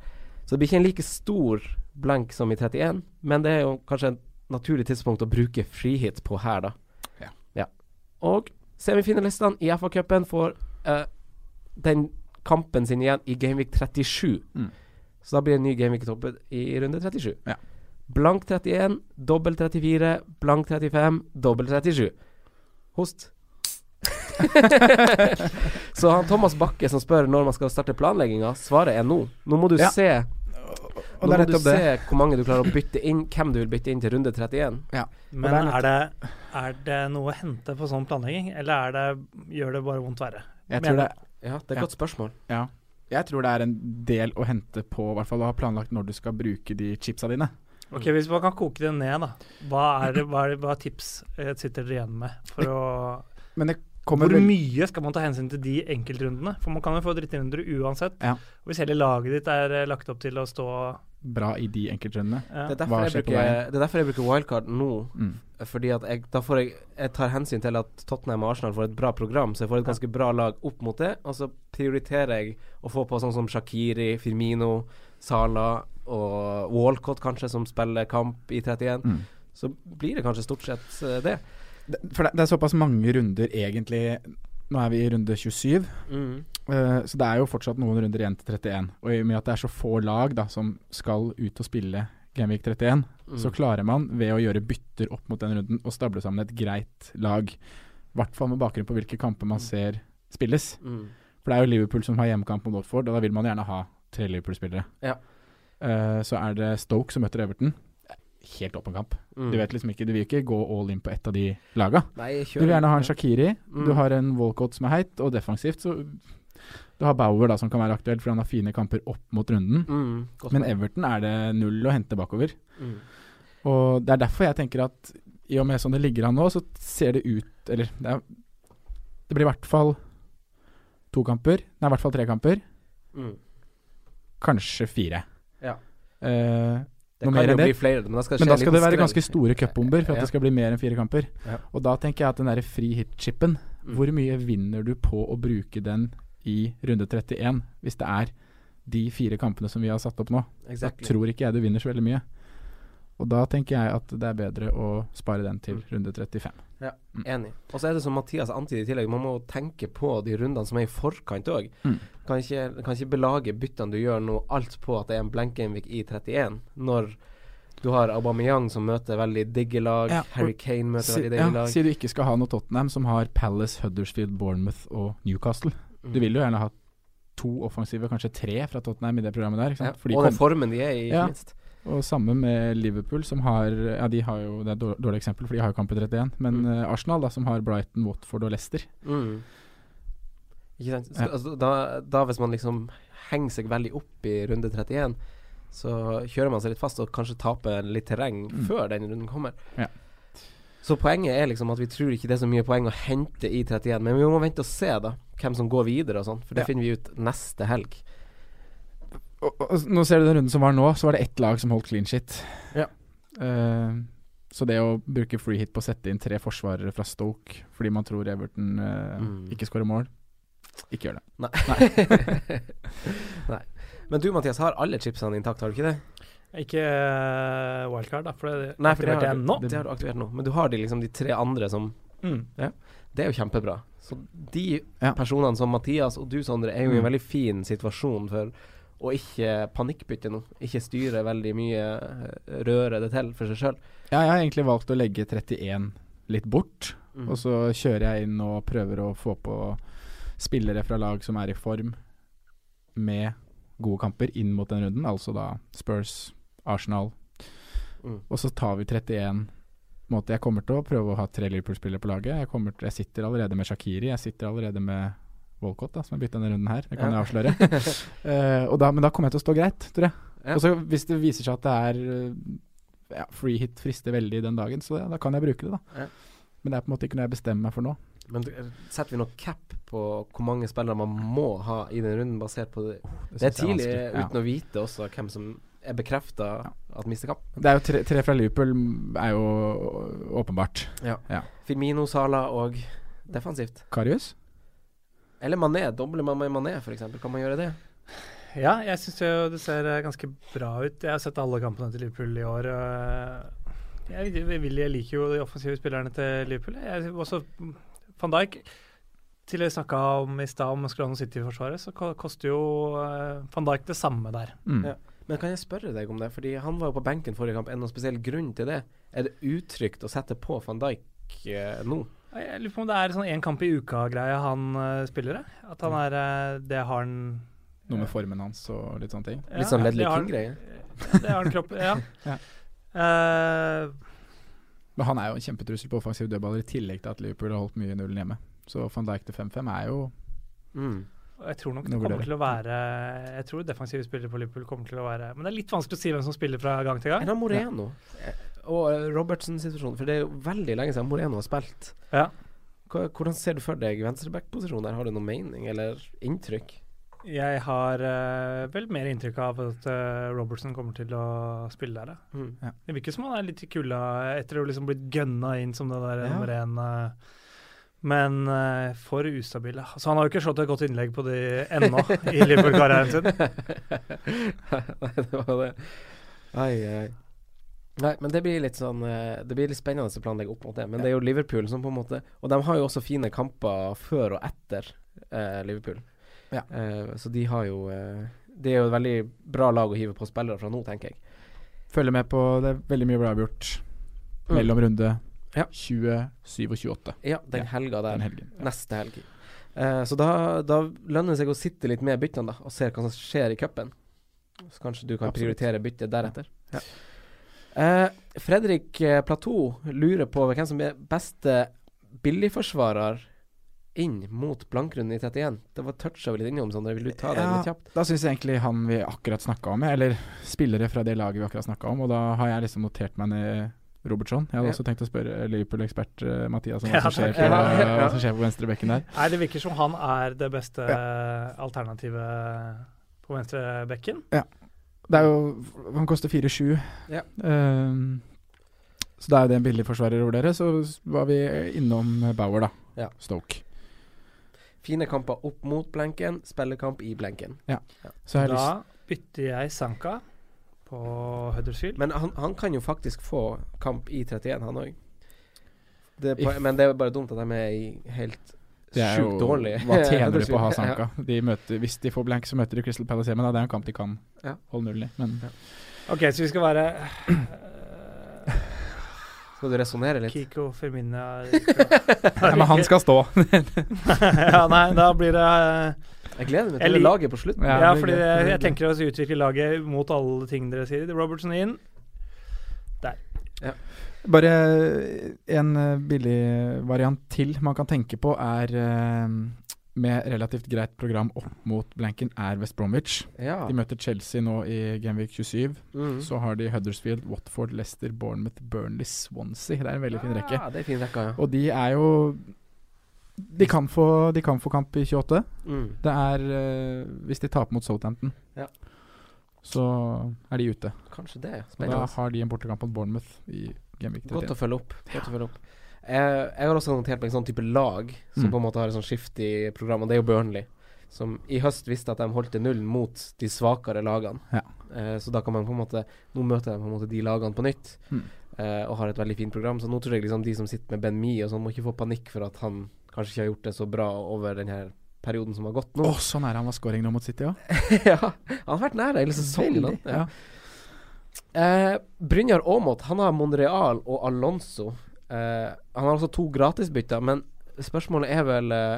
Speaker 3: Så det blir ikke en like stor blank som i 31, men det er jo kanskje et naturlig tidspunkt å bruke frihit på her, da.
Speaker 4: Ja.
Speaker 3: Og semifinalistene i FA-cupen får eh, den kampen sin igjen i Gameweek 37.
Speaker 4: Mm.
Speaker 3: Så da blir det en ny Gameweek-topp i runde 37.
Speaker 4: Ja.
Speaker 3: Blank 31, dobbel 34, blank 35, dobbel 37. Host. Så han Thomas Bakke som spør når man skal starte planlegginga, svaret er nå. Nå må du
Speaker 4: Ja,
Speaker 3: se
Speaker 4: Og
Speaker 3: Nå
Speaker 4: det er
Speaker 3: må du
Speaker 4: nettopp det.
Speaker 3: se hvor mange du klarer å bytte inn, hvem du vil bytte inn til runde 31.
Speaker 2: Men
Speaker 4: det er
Speaker 2: er det, er det noe å hente på sånn planlegging, eller er det, gjør det bare vondt verre?
Speaker 4: Jeg
Speaker 2: mener-
Speaker 4: tror det,
Speaker 3: Ja, det er et
Speaker 4: Ja.
Speaker 3: godt spørsmål.
Speaker 4: ja. jeg tror det er en del å hente på i hvert fall å ha planlagt når du skal bruke de chipsa dine.
Speaker 2: Ok, Hvis man kan koke det ned, da. Hva er, det, hva er, det, hva er tips eh, sitter dere igjen med? For å,
Speaker 4: Men det kommer
Speaker 2: hvor
Speaker 4: vel-
Speaker 2: mye skal man ta hensyn til de enkeltrundene? For man kan jo få drittrunder uansett.
Speaker 4: Ja.
Speaker 2: Og Hvis hele laget ditt er eh, lagt opp til å stå
Speaker 4: bra i de enkeltrundene.
Speaker 2: ja.
Speaker 3: Det er
Speaker 4: Hva
Speaker 3: derfor, jeg
Speaker 4: skjer på
Speaker 3: bruker,
Speaker 4: veien?
Speaker 3: det er derfor jeg bruker wildcard nå.
Speaker 4: Mm.
Speaker 3: Fordi at jeg, da får jeg, jeg tar hensyn til at Tottenham og Arsenal får et bra program, så jeg får et ganske bra lag opp mot det. Og så prioriterer jeg å få på sånn som Shakiri, Firmino, Sala og Walcott kanskje, som spiller kamp i 31.
Speaker 4: Mm.
Speaker 3: Så blir det kanskje stort sett eh, det.
Speaker 4: Det, for det, det er såpass mange runder egentlig Nå er vi i runde 27,
Speaker 3: Mm.
Speaker 4: eh, så det er jo fortsatt noen runder igjen til 31. Og i og med at det er så få lag da som skal ut og spille Gameweek 31,
Speaker 3: Mm.
Speaker 4: så klarer man ved å gjøre bytter opp mot den runden å stable sammen et greit lag. I hvert fall med bakgrunn på hvilke kamper man ser spilles.
Speaker 3: Mm.
Speaker 4: For det er jo Liverpool som har hjemmekamp mot Watford, og da vil man gjerne ha tre Liverpool-spillere.
Speaker 3: Ja.
Speaker 4: Eh, så er det Stoke som møter Everton. Helt åpen kamp.
Speaker 3: Mm.
Speaker 4: Du vet liksom ikke, du vil ikke gå all in på ett av de laga.
Speaker 3: Nei, jeg
Speaker 4: Du vil gjerne ha en Shakiri,
Speaker 3: Mm.
Speaker 4: du har en Walcott som er heit, og defensivt så Du har Bauer da som kan være aktuell, for han har fine kamper opp mot runden.
Speaker 3: mm. Godt
Speaker 4: Men
Speaker 3: poeng.
Speaker 4: Everton er det null å hente bakover.
Speaker 3: Mm.
Speaker 4: Og det er derfor jeg tenker at i og med sånn det ligger an nå, så ser det ut Eller det, er, det blir i hvert fall to kamper. Nei, i hvert fall tre kamper.
Speaker 3: Mm.
Speaker 4: Kanskje fire.
Speaker 3: Ja.
Speaker 4: Eh,
Speaker 3: Det kan
Speaker 4: Noe mer
Speaker 3: jo
Speaker 4: enn det?
Speaker 3: bli flere, men da skal det skje
Speaker 4: men da
Speaker 3: en
Speaker 4: skal
Speaker 3: liten
Speaker 4: det være
Speaker 3: skrell.
Speaker 4: ganske store cupbomber for at
Speaker 3: Ja.
Speaker 4: det skal bli mer enn fire kamper.
Speaker 3: Ja.
Speaker 4: Og da tenker jeg at den derre free hit-chipen,
Speaker 3: Mm.
Speaker 4: hvor mye vinner du på å bruke den i runde 31, hvis det er de fire kampene som vi har satt opp nå? Da
Speaker 3: Exactly.
Speaker 4: tror ikke jeg du vinner så veldig mye. Og da tenker jeg at det er bedre å spare den
Speaker 3: Mm.
Speaker 4: til runde 35. Mm.
Speaker 3: Enig. Og så er det som Mathias antyder i tillegg, man må tenke på de rundene som er i forkant òg.
Speaker 4: Mm.
Speaker 3: Kan, ikke- kan ikke belage byttene du gjør nå, alt på at det er en blank Gamevik i 31, når du har Aubameyang som møter veldig digge lag,
Speaker 4: Ja, og-
Speaker 3: Harry Kane møter
Speaker 4: Si,
Speaker 3: veldig digge
Speaker 4: ja,
Speaker 3: lag.
Speaker 4: si du ikke skal ha noe Tottenham som har Palace, Huddersfield, Bournemouth og Newcastle.
Speaker 3: Mm.
Speaker 4: Du vil jo gjerne ha to offensive, kanskje tre fra Tottenham i det programmet der. Ikke
Speaker 3: ja.
Speaker 4: sant? For de
Speaker 3: Og den
Speaker 4: kom,
Speaker 3: formen de er i, ikke
Speaker 4: Ja.
Speaker 3: minst.
Speaker 4: og samme med Liverpool, som har Ja, de har jo Det er et dår- dårlig eksempel, for de har jo kamp i 31. Men
Speaker 3: Mm.
Speaker 4: eh, Arsenal, da, som har Brighton, Watford og Leicester.
Speaker 3: Mm. Ikke sant? Skal,
Speaker 4: Ja.
Speaker 3: altså, da, da hvis man liksom henger seg veldig opp i runde 31, så kjører man seg litt fast og kanskje taper litt terreng før den runden kommer.
Speaker 4: Mm. Ja.
Speaker 3: Så poenget er liksom at vi tror ikke det er så mye poeng å hente i 31, men vi må vente og se da hvem som går videre og sånn, for det
Speaker 4: Ja.
Speaker 3: finner vi ut neste helg.
Speaker 4: Og, og, og nå ser du den runden som var nå, så var det ett lag som holdt clean shit.
Speaker 3: Ja.
Speaker 4: Eh, så det å bruke free hit på å sette inn tre forsvarere fra Stoke fordi man tror Everton eh,
Speaker 3: Mm.
Speaker 4: ikke skårer mål, ikke gjør det.
Speaker 3: Nei. Nei. Men du Mathias har alle chipsene intakte, har du ikke det?
Speaker 2: Ikke eh, wildcard, da, for det
Speaker 3: Nei, for det
Speaker 2: aktiverte
Speaker 3: har,
Speaker 2: jeg
Speaker 3: du,
Speaker 2: nå.
Speaker 3: det har du aktivert nå. Men du har de liksom de tre andre som
Speaker 2: Mm.
Speaker 3: Det er jo kjempebra. Så de
Speaker 4: Ja.
Speaker 3: personene som Mathias og du, Sondre, er jo i en
Speaker 4: Mm.
Speaker 3: veldig fin situasjon for å ikke panikkbytte nå. Ikke styre veldig mye, eh, røre det til for seg sjøl.
Speaker 4: Ja, jeg har egentlig valgt å legge 31 litt bort,
Speaker 3: Mm.
Speaker 4: og så kjører jeg inn og prøver å få på spillere fra lag som er i form, med gode kamper inn mot den runden, altså da Spurs, Arsenal.
Speaker 3: Mm.
Speaker 4: Og så tar vi 31 på en måte Jeg kommer til å prøve å ha tre Liverpool-spillere på laget. Jeg, kommer til, jeg sitter allerede med Shakiri, jeg sitter allerede med Walcott, da, som har bytta denne runden her. Det kan
Speaker 3: Ja.
Speaker 4: jeg avsløre. Eh, og da, men da kommer jeg til å stå greit, tror jeg.
Speaker 3: Ja.
Speaker 4: Og så hvis det viser seg at det er eh, ja, free hit frister veldig den dagen, så ja, da kan jeg bruke det, da.
Speaker 3: Ja.
Speaker 4: Men det er på en måte ikke noe jeg bestemmer meg for nå.
Speaker 3: Men du- setter vi noe cap på hvor mange spillere man må ha i den runden, basert på det? Det er
Speaker 4: synes jeg
Speaker 3: tidlig
Speaker 4: vanskelig. Ja.
Speaker 3: uten å vite også hvem som er bekrefta at mister kamp.
Speaker 4: Det er jo tre, tre fra Liverpool er jo åpenbart.
Speaker 3: Firmino, Sala og defensivt.
Speaker 4: Karius?
Speaker 3: Eller Mané. Dobler man med Mané, f.eks.? Kan man gjøre det?
Speaker 2: Ja, jeg syns jo det ser eh, ganske bra ut. Jeg har sett alle kampene til Liverpool i år. og Jeg, jeg, vil, jeg liker jo de offensive spillerne til Liverpool. Jeg, også mm, van Dijk. Til jeg snakka om i stad om man skulle ha noe City i forsvaret, så ko- koster jo eh, van Dijk det samme der.
Speaker 4: Mm.
Speaker 3: Ja. Men kan jeg spørre deg om det? Fordi han var jo på benken forrige kamp. Er det noen spesiell grunn til det? Er det utrygt å sette på van Dijk eh, nå?
Speaker 2: Jeg lurer på om det er sånn én kamp i uka-greie han eh, spiller, jeg. At han er eh, Det har han
Speaker 4: Noe med formen hans og litt sånne ting.
Speaker 2: ja,
Speaker 3: Litt sånn
Speaker 2: det
Speaker 3: Ledley
Speaker 2: har han-
Speaker 3: King-greie.
Speaker 2: Det har han kropp Ja.
Speaker 4: Ja.
Speaker 2: Eh,
Speaker 4: Men han er jo en kjempetrussel på offensive dødballer, i tillegg til at Liverpool har holdt mye nullen hjemme. Så van Dijk til 5-5 er jo
Speaker 3: Mm.
Speaker 2: og jeg tror nok det
Speaker 4: Nå
Speaker 2: kommer
Speaker 4: vurderer
Speaker 2: til å være Jeg tror defensive spillere på Liverpool kommer til å være Men det er litt vanskelig å si hvem som spiller fra gang til gang.
Speaker 3: Enn han Moreno Eh, og eh, Robertsen-situasjonen? For det er jo veldig lenge siden Moreno har spilt.
Speaker 2: Ja.
Speaker 3: Hva- Hvordan ser du for deg venstreback-posisjonen der? Har du noen mening eller inntrykk?
Speaker 2: Jeg har eh, vel mer inntrykk av at eh, Robertson kommer til å spille der, ja.
Speaker 3: Mm.
Speaker 2: Det virker som han er litt i kulda etter å ha liksom blitt gønna inn som det der
Speaker 3: Ja.
Speaker 2: nummer én. eh, Men eh, for ustabil. ja. Så han har jo ikke slått et godt innlegg på de ennå i Liverpool-karrieren sin.
Speaker 3: Nei, det var det. Ai, ai. Nei, men det blir litt sånn eh, Det blir litt spennende å planlegge opp mot det. Men det er jo Liverpool som på en måte Og de har jo også fine kamper før og etter eh, Liverpool.
Speaker 4: Ja.
Speaker 3: Eh, så de har jo eh, Det er jo et veldig bra lag å hive på spillere fra nå, tenker jeg.
Speaker 4: Følger med på Det er veldig mye bra avgjort
Speaker 3: Mm.
Speaker 4: mellom runde
Speaker 3: Ja.
Speaker 4: 27 og 28
Speaker 3: Ja, den helga der.
Speaker 4: den helgen.
Speaker 3: neste helg. Eh, så da, da lønner det seg å sitte litt med byttene, da, og se hva som skjer i cupen. Så kanskje du kan
Speaker 4: Absolutt.
Speaker 3: prioritere byttet deretter. Ja. Eh, Fredrik eh, Platou lurer på hvem som er beste billigforsvarer inn mot blankrunden i 31. Det var toucha vi litt innom, Sondre. Vil du ta det litt
Speaker 4: Ja,
Speaker 3: kjapt?
Speaker 4: da syns jeg egentlig han vi akkurat snakka om, eller spillere fra det laget vi akkurat snakka om, og da har jeg liksom notert meg ned Robertson. Jeg hadde
Speaker 3: Ja.
Speaker 4: også tenkt å spørre Liverpool-ekspert eh, Mathias om
Speaker 2: Ja,
Speaker 4: hva som skjer
Speaker 2: takk.
Speaker 4: på,
Speaker 3: Ja, ja.
Speaker 4: hva som skjer på venstrebekken der.
Speaker 2: Nei, det virker som han er det beste eh, alternativet på venstrebekken.
Speaker 4: Det er jo Han koster 4-7.
Speaker 3: Ja.
Speaker 4: Ehm, så da er jo det en billig forsvarer å vurdere. Så var vi innom Bauer, da.
Speaker 3: Ja.
Speaker 4: Stoke.
Speaker 3: Fine kamper opp mot blenken, spillekamp i blenken.
Speaker 4: Så har jeg
Speaker 2: Da
Speaker 4: lyst
Speaker 2: bytter jeg Sanka på Huddersfield.
Speaker 3: Men han, han kan jo faktisk få kamp i 31, han òg. Men det er jo bare dumt at de er i helt
Speaker 4: det er jo,
Speaker 3: sjukt dårlig.
Speaker 4: Hva tjener de på å ha
Speaker 3: Ja.
Speaker 4: Sanka? De møter, hvis de får blank, så møter de Crystal Palace hjemme. Da. Det er en kamp de kan
Speaker 3: Ja.
Speaker 4: holde nullen i. Men
Speaker 2: OK, så vi skal være eh,
Speaker 3: Skal du resonnere litt?
Speaker 2: Kiko Firmina
Speaker 4: Nei, men han skal stå.
Speaker 2: Ja, nei, da blir det eh,
Speaker 3: Jeg gleder meg
Speaker 2: Jeg
Speaker 3: til det
Speaker 2: lik-
Speaker 3: laget på slutten.
Speaker 4: Ja,
Speaker 2: Ja,
Speaker 4: det blir
Speaker 2: fordi
Speaker 4: gøy.
Speaker 2: jeg, jeg tenker å utvikle laget mot alle ting dere sier. Robertson inn.
Speaker 4: Bare en eh, billig variant til man kan tenke på, er eh, med relativt greit program opp mot blanken, er West Bromwich.
Speaker 3: Ja.
Speaker 4: De møter Chelsea nå i Genvik 27.
Speaker 3: Mm.
Speaker 4: Så har de Huddersfield, Watford, Leicester, Bournemouth, Burnley, Swansea. Det er en veldig fin rekke.
Speaker 3: Ja, det er fin rekke, ja.
Speaker 4: Og de er jo De kan få, de kan få kamp i 28.
Speaker 3: Mm.
Speaker 4: Det er eh, hvis de taper mot Southampton.
Speaker 3: Ja.
Speaker 4: Så er de ute.
Speaker 3: Kanskje det. ja.
Speaker 4: Og da
Speaker 3: Spennende.
Speaker 4: har de en bortekamp mot Bournemouth i Genvik
Speaker 3: Godt
Speaker 4: 31.
Speaker 3: å følge opp. Godt å følge opp. Eh, jeg har også notert meg en sånn type lag som
Speaker 4: Mm.
Speaker 3: på en måte har et sånn skift i programmet. Det er jo Burnley, som i høst visste at de holdt til null mot de svakere lagene.
Speaker 4: Ja.
Speaker 3: Eh, så da kan man på en måte Nå møter de på en måte de lagene på nytt,
Speaker 4: Mm.
Speaker 3: eh, og har et veldig fint program. Så nå tror jeg liksom de som sitter med Ben Mee og sånn, må ikke få panikk for at han kanskje ikke har gjort det så bra over den her perioden som har gått
Speaker 4: Å,
Speaker 3: nå.
Speaker 4: så nære sånn han var scoring nå mot City, ja. Sånn
Speaker 3: ja, han har vært nær hele sesongen. da. Ja. Eh, Brynjar Aamodt Han har Monreal og Alonso. Eh, han har også to gratisbytter, men spørsmålet er vel eh,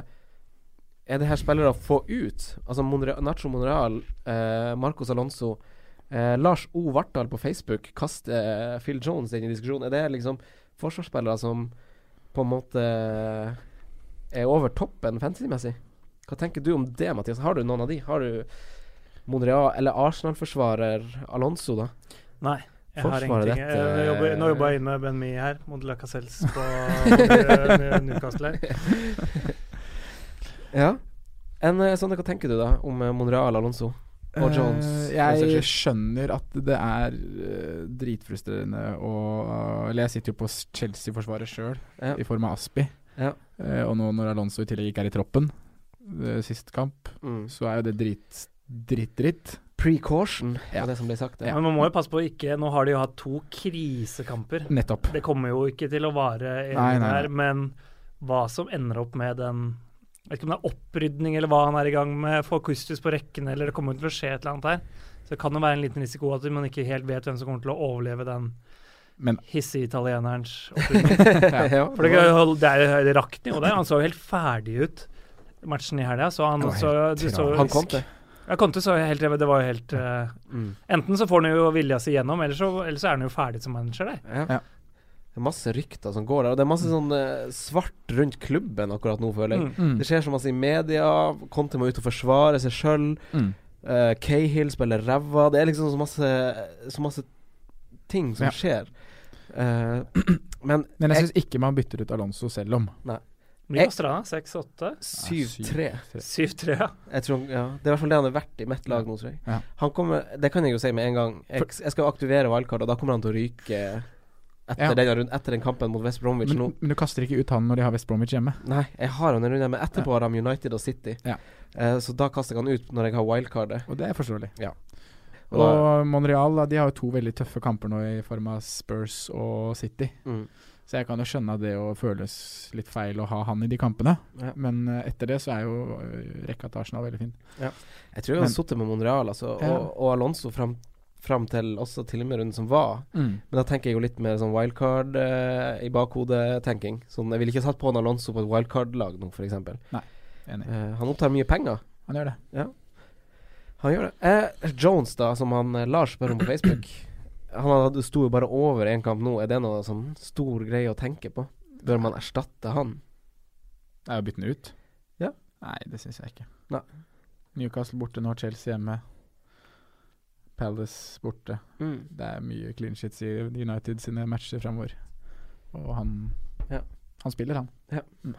Speaker 3: Er det her spillere å få ut? Altså Monre Nacho Monreal, eh, Marcos Alonso eh, Lars O. Vartdal på Facebook kaster eh, Phil Jones inn i diskusjonen. Er det liksom forsvarsspillere som på en måte eh, er over toppen fantasy-messig? Hva tenker du om det, Mathias? Har du noen av de? Har du Monreal eller Arsenal-forsvarer Alonso, da?
Speaker 2: Nei. Jeg har
Speaker 3: Forsvaret eh,
Speaker 2: ingenting. eh,
Speaker 3: dette-
Speaker 2: Jeg jobber, nå jobber jeg inn med Ben Mi her, mot Lacazelles på mot eh, Newcastle. her.
Speaker 3: Ja. En, eh, sånn, hva tenker du da om eh, Monreal Alonso? Og Jones.
Speaker 4: Eh, jeg skjønner at det er eh, dritfrustrerende å Eller jeg sitter jo på s- Chelsea-forsvaret sjøl,
Speaker 3: Ja.
Speaker 4: i form av Aspi.
Speaker 3: Ja.
Speaker 4: Eh, og nå når Alonso i tillegg ikke er i troppen, eh, sist kamp,
Speaker 3: Mm.
Speaker 4: så er jo det drit, dritt, dritt.
Speaker 3: Precaution
Speaker 4: Ja.
Speaker 3: er det som blir sagt.
Speaker 4: Ja.
Speaker 2: Men man må jo passe på å ikke Nå har de jo hatt to krisekamper.
Speaker 4: Nettopp.
Speaker 2: Det kommer jo ikke til å vare
Speaker 4: Nei,
Speaker 2: evig
Speaker 4: nei, nei.
Speaker 2: der, men hva som ender opp med den Jeg vet ikke om det er opprydning eller hva han er i gang med, få Kustus på rekkene, eller det kommer til å skje et eller annet her. Så det kan jo være en liten risiko at man ikke helt vet hvem som kommer til å overleve den
Speaker 4: Men
Speaker 2: hissige italienerens opprinnelse.
Speaker 3: Ja.
Speaker 2: For det, det, er- det rakk den jo der. Han så jo helt ferdig ut matchen i helga. Så han
Speaker 4: Det var
Speaker 2: så,
Speaker 4: helt
Speaker 2: du så
Speaker 4: tragisk.
Speaker 3: Han kom til.
Speaker 2: Ja, Conte så helt Det var jo helt eh,
Speaker 3: Mm.
Speaker 2: Enten så får han jo vilja si gjennom, eller så, eller så er han jo ferdig som manager, der.
Speaker 3: Ja.
Speaker 4: Ja.
Speaker 3: Det er masse rykter som går der, og det er masse sånn eh, svart rundt klubben akkurat nå, føler jeg.
Speaker 4: Mm.
Speaker 3: Det skjer så masse i media, Conte må ut og forsvare seg sjøl,
Speaker 4: Mm.
Speaker 3: Cahill spiller ræva Det er liksom så masse, så masse ting som
Speaker 4: Ja.
Speaker 3: skjer. Eh, men
Speaker 4: Men jeg syns ikke man bytter ut Alonso selv om. Eh,
Speaker 2: Blir
Speaker 3: Jeg-
Speaker 2: Kostrana 6-8?
Speaker 3: 7-3
Speaker 2: 7-3, ja.
Speaker 3: Jeg tror, ja, Det er i hvert fall det han er verdt i mitt lag nå, tror jeg.
Speaker 4: Ja.
Speaker 3: Han kommer, det kan jeg jo si med en gang. Jeg, jeg skal aktivere wildcard, og da kommer han til å ryke etter,
Speaker 4: Ja.
Speaker 3: den, rund- etter den kampen mot West Bromwich nå.
Speaker 4: Men, men du kaster ikke ut han når de har West Bromwich hjemme.
Speaker 3: Nei, jeg har han en runde, men etterpå har de United og City.
Speaker 4: Ja.
Speaker 3: Eh, så da kaster jeg han ut når jeg har wildcardet.
Speaker 4: Og det er forståelig.
Speaker 3: Og da-
Speaker 4: Og Monreal da, de har jo to veldig tøffe kamper nå i form av Spurs og City.
Speaker 3: Mm.
Speaker 4: Så jeg kan jo skjønne at det å føles litt feil å ha han i de kampene.
Speaker 3: Ja.
Speaker 4: Men eh, etter det så er jo eh, rekka til Arsenal veldig fin.
Speaker 3: Jeg tror jeg
Speaker 4: Men-
Speaker 3: har sittet med Monreal altså,
Speaker 4: Ja.
Speaker 3: og, og Alonso fram, fram til også til og med runden som var. Men da tenker jeg jo litt mer sånn wildcard eh, i bakhodet-tenking. Sånn, jeg ville ikke satt på en Alonso på et wildcard-lag nå, f.eks.
Speaker 4: Enig.
Speaker 3: Uh, han opptar mye penger.
Speaker 4: Han gjør det.
Speaker 3: Han gjør det. Eh, Jones, da, som han eh, Lars spør om på Facebook. Han hadde- sto jo bare over én kamp nå. Er det noe sånn stor greie å tenke på? Bør man erstatte han?
Speaker 4: Det er jo å bytte den ut.
Speaker 3: Ja.
Speaker 4: Nei, det syns jeg ikke.
Speaker 3: Nei.
Speaker 4: Newcastle borte nå, Chelsea hjemme. Palace borte.
Speaker 3: Mm.
Speaker 4: Det er mye clean shits i United sine matcher framover. Og han
Speaker 3: Ja.
Speaker 4: Han spiller, han.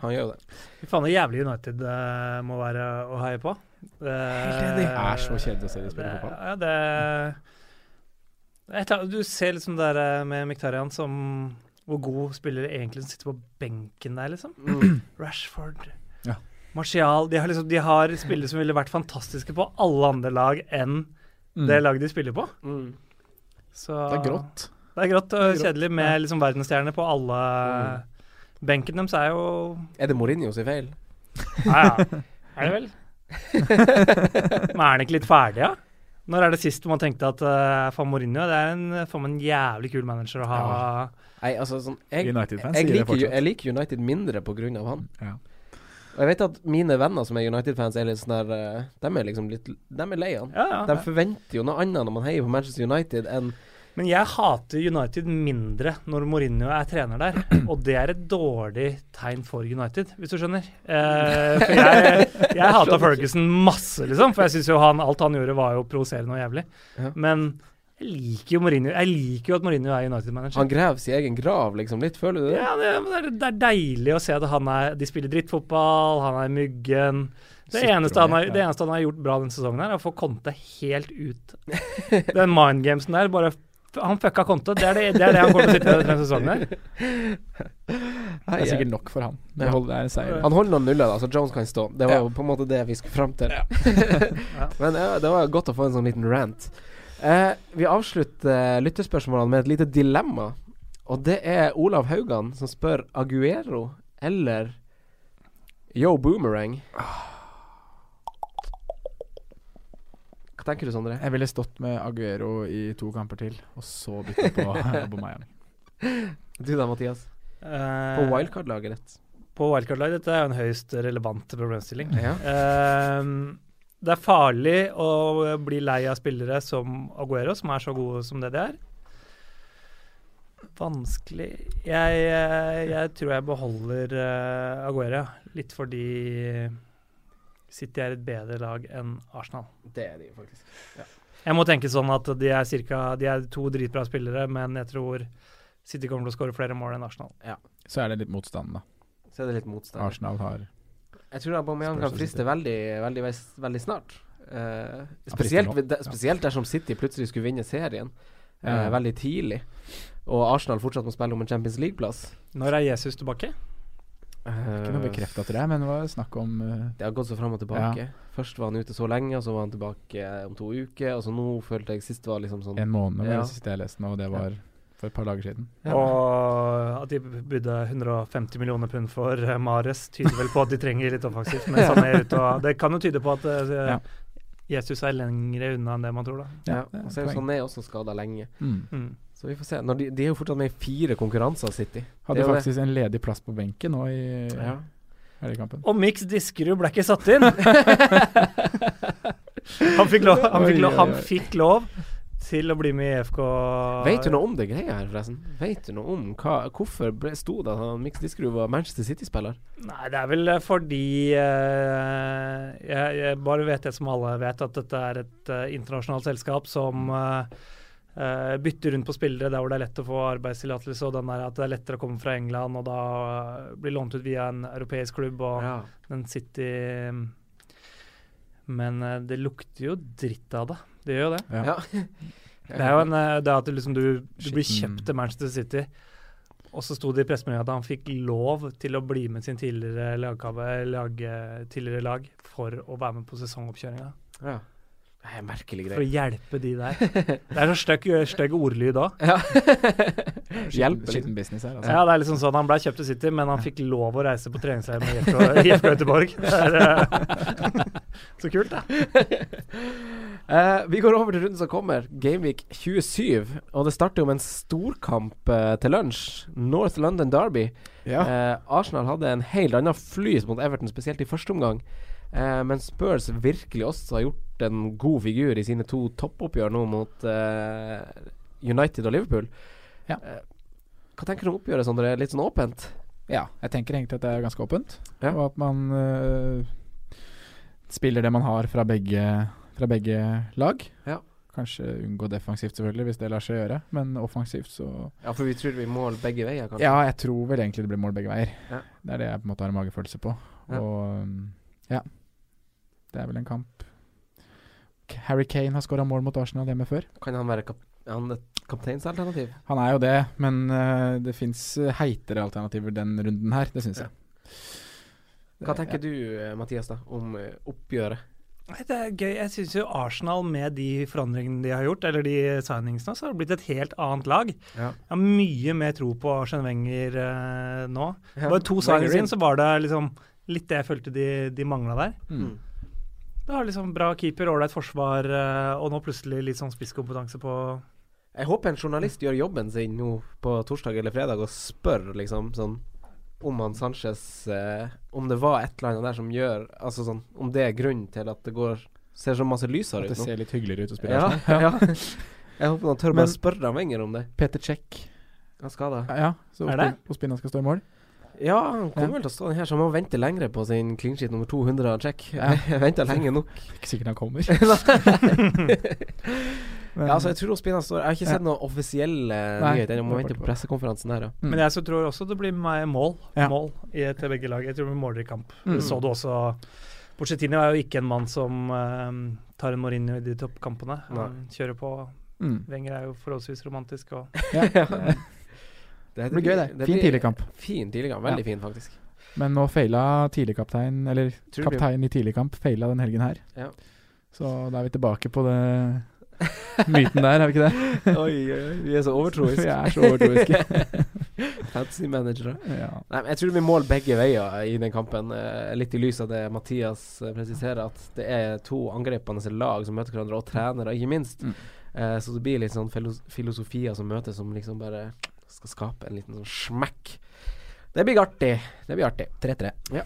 Speaker 3: Han gjør jo det.
Speaker 2: Fy faen, det jævlig United eh, må være å heie på. Det
Speaker 4: enig. Det er så kjedelig å se de spille
Speaker 2: det-
Speaker 4: fotball.
Speaker 2: Ja, det Et eller annet- Du ser liksom det der eh, med Miktarian som Hvor god spiller egentlig som sitter på benken der, liksom.
Speaker 4: Mm.
Speaker 2: Rashford.
Speaker 4: Ja.
Speaker 2: Martial. De har, liksom, de har spillere som ville vært fantastiske på alle andre lag enn
Speaker 4: Mm.
Speaker 2: det laget de spiller på.
Speaker 3: Mm.
Speaker 2: Så,
Speaker 4: Det er grått.
Speaker 2: Det er grått og kjedelig med liksom, verdensstjerner på alle
Speaker 4: Mm.
Speaker 2: Benken deres er jo
Speaker 3: Er det Mourinho sin feil?
Speaker 2: Ja, ja. Er det vel? Men er den ikke litt ferdig, da? Når er det sist man tenkte at uh, faen Mourinho det er en, faen, en jævlig kul manager å ha
Speaker 3: Nei, altså sånn Jeg,
Speaker 4: United-fans
Speaker 3: jeg,
Speaker 4: sier det
Speaker 3: liker, jo-
Speaker 4: fortsatt.
Speaker 3: jeg liker United mindre på grunn av han.
Speaker 4: Ja.
Speaker 3: Og jeg vet at mine venner som er United-fans, er litt sånn der eh, De er liksom litt De er lei han.
Speaker 2: Ja, ja.
Speaker 3: De forventer jo noe annet når man heier på Manchester United enn
Speaker 2: Men jeg hater United mindre når Mourinho er trener der, og det er et dårlig tegn for United, hvis du skjønner. Eh, for jeg, jeg hata Ferguson masse, liksom, for jeg syns jo han, alt han gjorde, var jo provoserende og jævlig.
Speaker 3: Ja.
Speaker 2: Men jeg liker jo Mourinho. Jeg liker jo at Mourinho er United-manager.
Speaker 3: Han graver sin egen grav, liksom. Litt, føler du det?
Speaker 2: Ja, det, det, er, det er deilig å se at han er, de spiller drittfotball, han er myggen. Det
Speaker 4: Sitter
Speaker 2: eneste,
Speaker 4: og
Speaker 2: han har,
Speaker 4: ned,
Speaker 2: det
Speaker 4: ja.
Speaker 2: eneste han har gjort bra denne sesongen, her er å få Conte helt ut. Den mindgamesen der, bare f- Han fucka Conte. Det er det, det, er det han kommer til å sitte med denne sesongen. her.
Speaker 4: Det
Speaker 3: Nei,
Speaker 4: er
Speaker 3: jeg-
Speaker 4: sikkert nok for han. Det
Speaker 3: Ja.
Speaker 4: holder- det er en seier.
Speaker 3: Han holder noen nuller, da, så Jones kan stå. Det var
Speaker 4: Ja.
Speaker 3: jo på en måte det vi skulle fram til. Men ja, det var godt å få en sånn liten rant. Eh, vi avslutter eh, lyttespørsmålene med et lite dilemma. Og det er Olav Haugan som spør Aguero eller Yo Boomerang. Hva tenker du, Sondre?
Speaker 4: Jeg ville stått med Aguero i to kamper til, og så bytta på Aubameyang.
Speaker 3: Du da, Mathias?
Speaker 2: Eh,
Speaker 3: På wildcard-laget ditt.
Speaker 2: på wildcard-lag, dette er jo en høyst relevant problemstilling.
Speaker 3: Ja.
Speaker 2: Eh, det er farlig å bli lei av spillere som Aguero, som er så gode som det de er. Vanskelig Jeg, eh, jeg tror jeg beholder eh, Aguero, ja. litt fordi City er et bedre lag enn Arsenal.
Speaker 3: Det er de faktisk.
Speaker 2: Jeg må tenke sånn at de er, cirka, de er to dritbra spillere, men jeg tror City kommer til å skåre flere mål enn Arsenal.
Speaker 4: Så er det litt motstand, da.
Speaker 3: Så er det litt motstand.
Speaker 4: Arsenal har
Speaker 3: Jeg tror Aubameyang
Speaker 4: Spurs
Speaker 3: kan
Speaker 4: og
Speaker 3: friste
Speaker 4: City.
Speaker 3: veldig, veldig, ves- veldig snart. Eh,
Speaker 4: frister
Speaker 3: spesielt,
Speaker 4: nå.
Speaker 3: ved de, spesielt dersom City plutselig skulle vinne serien eh, veldig tidlig, og Arsenal fortsatt må spille om en Champions League-plass.
Speaker 2: Når er Jesus tilbake?
Speaker 4: Ikke noe bekrefta til det, men det var snakk om eh,
Speaker 3: Det har gått så fram og tilbake. Først var han ute så lenge, og så var han tilbake eh, om to uker. Og så nå følte jeg sist var liksom sånn
Speaker 4: en måned, var
Speaker 3: Ja.
Speaker 4: det siste jeg leste nå, og det var for et par dager siden.
Speaker 3: Ja.
Speaker 2: Og at de bydde 150 millioner pund for eh, Mares, tyder vel på at de trenger litt offensivt. Men sånn er det ut, og det kan jo tyde på at eh,
Speaker 4: Ja.
Speaker 2: Jesus er lengre unna enn det man tror, da.
Speaker 3: Ja, sånn
Speaker 4: det er
Speaker 3: og så er jo
Speaker 4: poeng.
Speaker 3: Sané også skada lenge.
Speaker 4: Mm.
Speaker 2: Mm.
Speaker 3: Så vi får se. Når de, de er jo fortsatt med i fire konkurranser, City. Det er
Speaker 4: Hadde
Speaker 3: jo
Speaker 4: faktisk en ledig plass på benken nå i
Speaker 3: det. Ja.
Speaker 4: helgekampen.
Speaker 2: Og Mix Diskerud ble ikke satt inn! han, fikk lov, han, fikk lov, han
Speaker 4: Oi, oi, oi.
Speaker 2: fikk lov til å bli med i E EFK.
Speaker 3: Vet du noe om det greia her, forresten? Vet du noe om hva, hvorfor ble, sto det at han Mix Diskerud var Manchester City-spiller?
Speaker 2: Nei, det er vel fordi eh, jeg, jeg bare vet det som alle vet, at dette er et eh, internasjonalt selskap som eh, eh, bytter rundt på spillere der hvor det er lett å få arbeidstillatelse, og den der at det er lettere å komme fra England og da eh, bli lånt ut via en europeisk klubb og den City mm. Men eh, det lukter jo dritt av det. Det gjør jo det.
Speaker 4: Ja.
Speaker 3: Ja.
Speaker 2: Det er jo en, eh, det er at du liksom du, du blir
Speaker 4: Skitten.
Speaker 2: kjøpt til Manchester City, og så sto det i pressemeldinga at han fikk lov til å bli med sin tidligere lagkave- lag, eh, tidligere lag for å være med på sesongoppkjøringa.
Speaker 3: Ja. Det er en merkelig
Speaker 2: For å
Speaker 3: greie.
Speaker 2: hjelpe de der. Det er så stygg stygg ordlyd òg.
Speaker 3: Ja.
Speaker 4: Skitten,
Speaker 3: Hjelper litt.
Speaker 4: skitten business her, altså.
Speaker 2: Ja, det er liksom sånn han ble kjøpt til City, men han fikk lov å reise på treningsleir med IFK IFK Göteborg. Det er eh, så kult, da.
Speaker 3: Eh, vi går over til runden som kommer, Gameweek 27. Og det starter jo med en storkamp eh, til lunsj. North London Derby.
Speaker 4: Ja.
Speaker 3: Eh, Arsenal hadde en helt annen flyt mot Everton, spesielt i første omgang. Eh, men Spurs virkelig også har gjort en god figur i sine to toppoppgjør nå mot eh, United og Liverpool.
Speaker 4: Ja.
Speaker 3: Eh, hva tenker du om oppgjøret, Sondre? Det er Litt sånn åpent?
Speaker 4: Ja, jeg tenker egentlig at det er ganske åpent.
Speaker 3: Ja.
Speaker 4: Og at man øh, spiller det man har fra begge, fra begge lag.
Speaker 3: Ja.
Speaker 4: Kanskje unngå defensivt, selvfølgelig, hvis det lar seg gjøre. Men offensivt, så
Speaker 3: Ja, for vi tror vi mål begge veier, kanskje.
Speaker 4: Ja, jeg tror vel egentlig det blir mål begge veier.
Speaker 3: Ja.
Speaker 4: Det er det jeg på en måte har en magefølelse på.
Speaker 3: Ja.
Speaker 4: Og øhm, ja. Det er vel en kamp K- Harry Kane har skåra mål mot Arsenal hjemme før.
Speaker 3: Kan han være kap er han et kapteinsalternativ?
Speaker 4: Han er jo det, men øh, det fins heitere alternativer den runden her. Det syns
Speaker 3: Ja.
Speaker 4: jeg.
Speaker 3: Hva tenker du, eh, Mathias, da, om eh, oppgjøret?
Speaker 2: Nei, Det er gøy. Jeg syns jo Arsenal med de forandringene de har gjort, eller de signingsene, så har det blitt et helt annet lag.
Speaker 3: Ja.
Speaker 2: Jeg har mye mer tro på Arsen Wenger eh, nå.
Speaker 3: Ja,
Speaker 2: Bare to
Speaker 3: Wenger
Speaker 2: signings
Speaker 3: inn.
Speaker 2: inn, så var det liksom litt det jeg følte de, de mangla der.
Speaker 4: Mm.
Speaker 2: Det har liksom bra keeper, ålreit forsvar, eh, og nå plutselig litt sånn spisskompetanse på
Speaker 3: Jeg håper en journalist gjør jobben sin nå på torsdag eller fredag og spør liksom sånn om han Sanchez eh, Om det var et eller annet der som gjør Altså sånn Om det er grunnen til at det går ser så masse lysere
Speaker 4: At det
Speaker 3: ut nå.
Speaker 4: ser litt hyggeligere ut å spille
Speaker 3: Ja,
Speaker 4: Arsenal.
Speaker 3: ja. Jeg håper han tør
Speaker 4: Men-
Speaker 3: bare spørre han Wenger om det.
Speaker 4: Peter Cech
Speaker 3: Han skal da.
Speaker 4: Ja, så
Speaker 2: Er det?
Speaker 4: Ospina skal stå i mål.
Speaker 3: Ja, han
Speaker 4: Ja.
Speaker 3: kommer vel til å stå den her, så han må vente lengre på sin clean sheet nummer 200 av Check.
Speaker 4: Ja.
Speaker 3: Jeg venta lenge nok.
Speaker 4: Ikke sikkert han kommer.
Speaker 3: Ja, altså, jeg tror Ospina står Jeg har ikke sett noen offisielle
Speaker 4: Nei.
Speaker 3: nyheter. Jeg må
Speaker 4: Det er
Speaker 3: vente
Speaker 4: bare-
Speaker 3: på pressekonferansen her, ja.
Speaker 4: Mm.
Speaker 2: Men jeg så tror også det blir meg mål,
Speaker 4: Ja.
Speaker 2: mål i, til begge lag. Jeg tror det blir måler i kamp.
Speaker 4: Mm.
Speaker 2: Det så du også. Porcettini er jo ikke en mann som eh, tar en Mourinho i de toppkampene. Han kjører på.
Speaker 4: Mm.
Speaker 2: Wenger er jo forholdsvis romantisk. og
Speaker 4: Ja.
Speaker 3: Det
Speaker 4: Det blir gøy, det. Fin tidligkamp.
Speaker 3: Fin tidligkamp. Veldig fin, faktisk.
Speaker 4: Men nå feila tidligkaptein, eller
Speaker 3: Tror det blir-
Speaker 4: kaptein i tidligkamp, feila den helgen her.
Speaker 3: Ja.
Speaker 4: Så da er vi tilbake på det myten der, er vi ikke det?
Speaker 3: Oi, oi, oi, vi er så overtroiske.
Speaker 4: Vi er så overtroiske.
Speaker 3: Fancy managere.
Speaker 4: ja.
Speaker 3: Nei, men Jeg tror det blir mål begge veier i den kampen. eh, Litt i lys av det Mathias eh, presiserer, at det er to angripende lag som møter hverandre, og trenere, ikke minst.
Speaker 4: Mm.
Speaker 3: Eh, Så det blir litt sånn filos- filosofier som møtes, som liksom bare skal skape en liten sånn smekk. Det blir artig. Det blir artig. 3-3. Ja.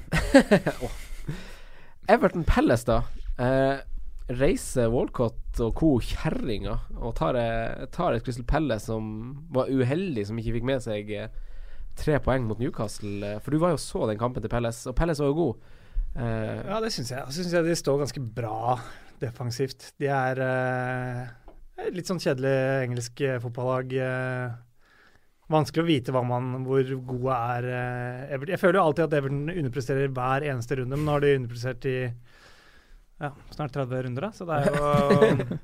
Speaker 3: Åh. Everton Palace, da. Eh, reiser Walcott og co. kjerringa og tar, eh, tar et Crystal Palace som var uheldig, som ikke fikk med seg eh, tre poeng mot Newcastle. eh, For du var jo så den kampen til Palace, og Palace var jo god. Eh,
Speaker 2: Ja, det syns jeg. Jeg syns de står ganske bra defensivt. De er eh, litt sånn kjedelig engelsk eh, fotballag. eh. vanskelig å vite hva man, hvor gode er eh, Everton. Jeg føler jo alltid at Everton underpresterer hver eneste runde, men nå har de underprestert i ja, snart 30 runder, da, så det er jo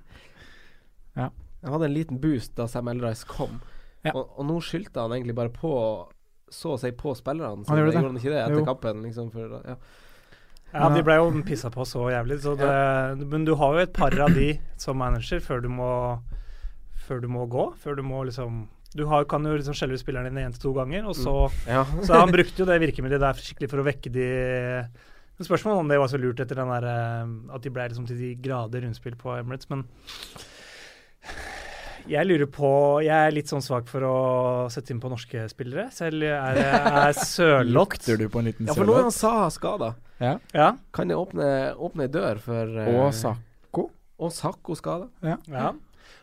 Speaker 3: Han hadde en liten boost da Sam Eldrice kom,
Speaker 4: Ja.
Speaker 3: og, og nå skyldte han egentlig bare på så å si på spillerne.
Speaker 4: Han
Speaker 3: Han
Speaker 4: gjorde
Speaker 3: gjorde,
Speaker 4: det.
Speaker 3: han ikke det etter
Speaker 4: Jo.
Speaker 3: kampen? Liksom, for, ja.
Speaker 2: Ja, de ble jo pissa på så jævlig, så det Men du har jo et par av de som manager før du må, før du må gå. Før du må liksom Du har, kan jo liksom skjelle ut spillerne dine én til to ganger, og så
Speaker 3: Ja.
Speaker 2: Så han brukte jo det virkemidlet der skikkelig for å vekke de Men spørsmålet om det var så lurt etter den der, eh, at de ble liksom til de grader rundspill på Emirates, men jeg lurer på Jeg er litt sånn svak for å sette inn på norske spillere. Selv er, er Sørloth
Speaker 4: Lukter du på en liten
Speaker 3: Ja, for nå er
Speaker 4: sørlåt?
Speaker 3: han Saha skada.
Speaker 4: Ja.
Speaker 2: ja,
Speaker 3: Kan jeg åpne, åpne ei dør for eh,
Speaker 4: Og sak.
Speaker 3: Og Sakko skada.
Speaker 2: ja.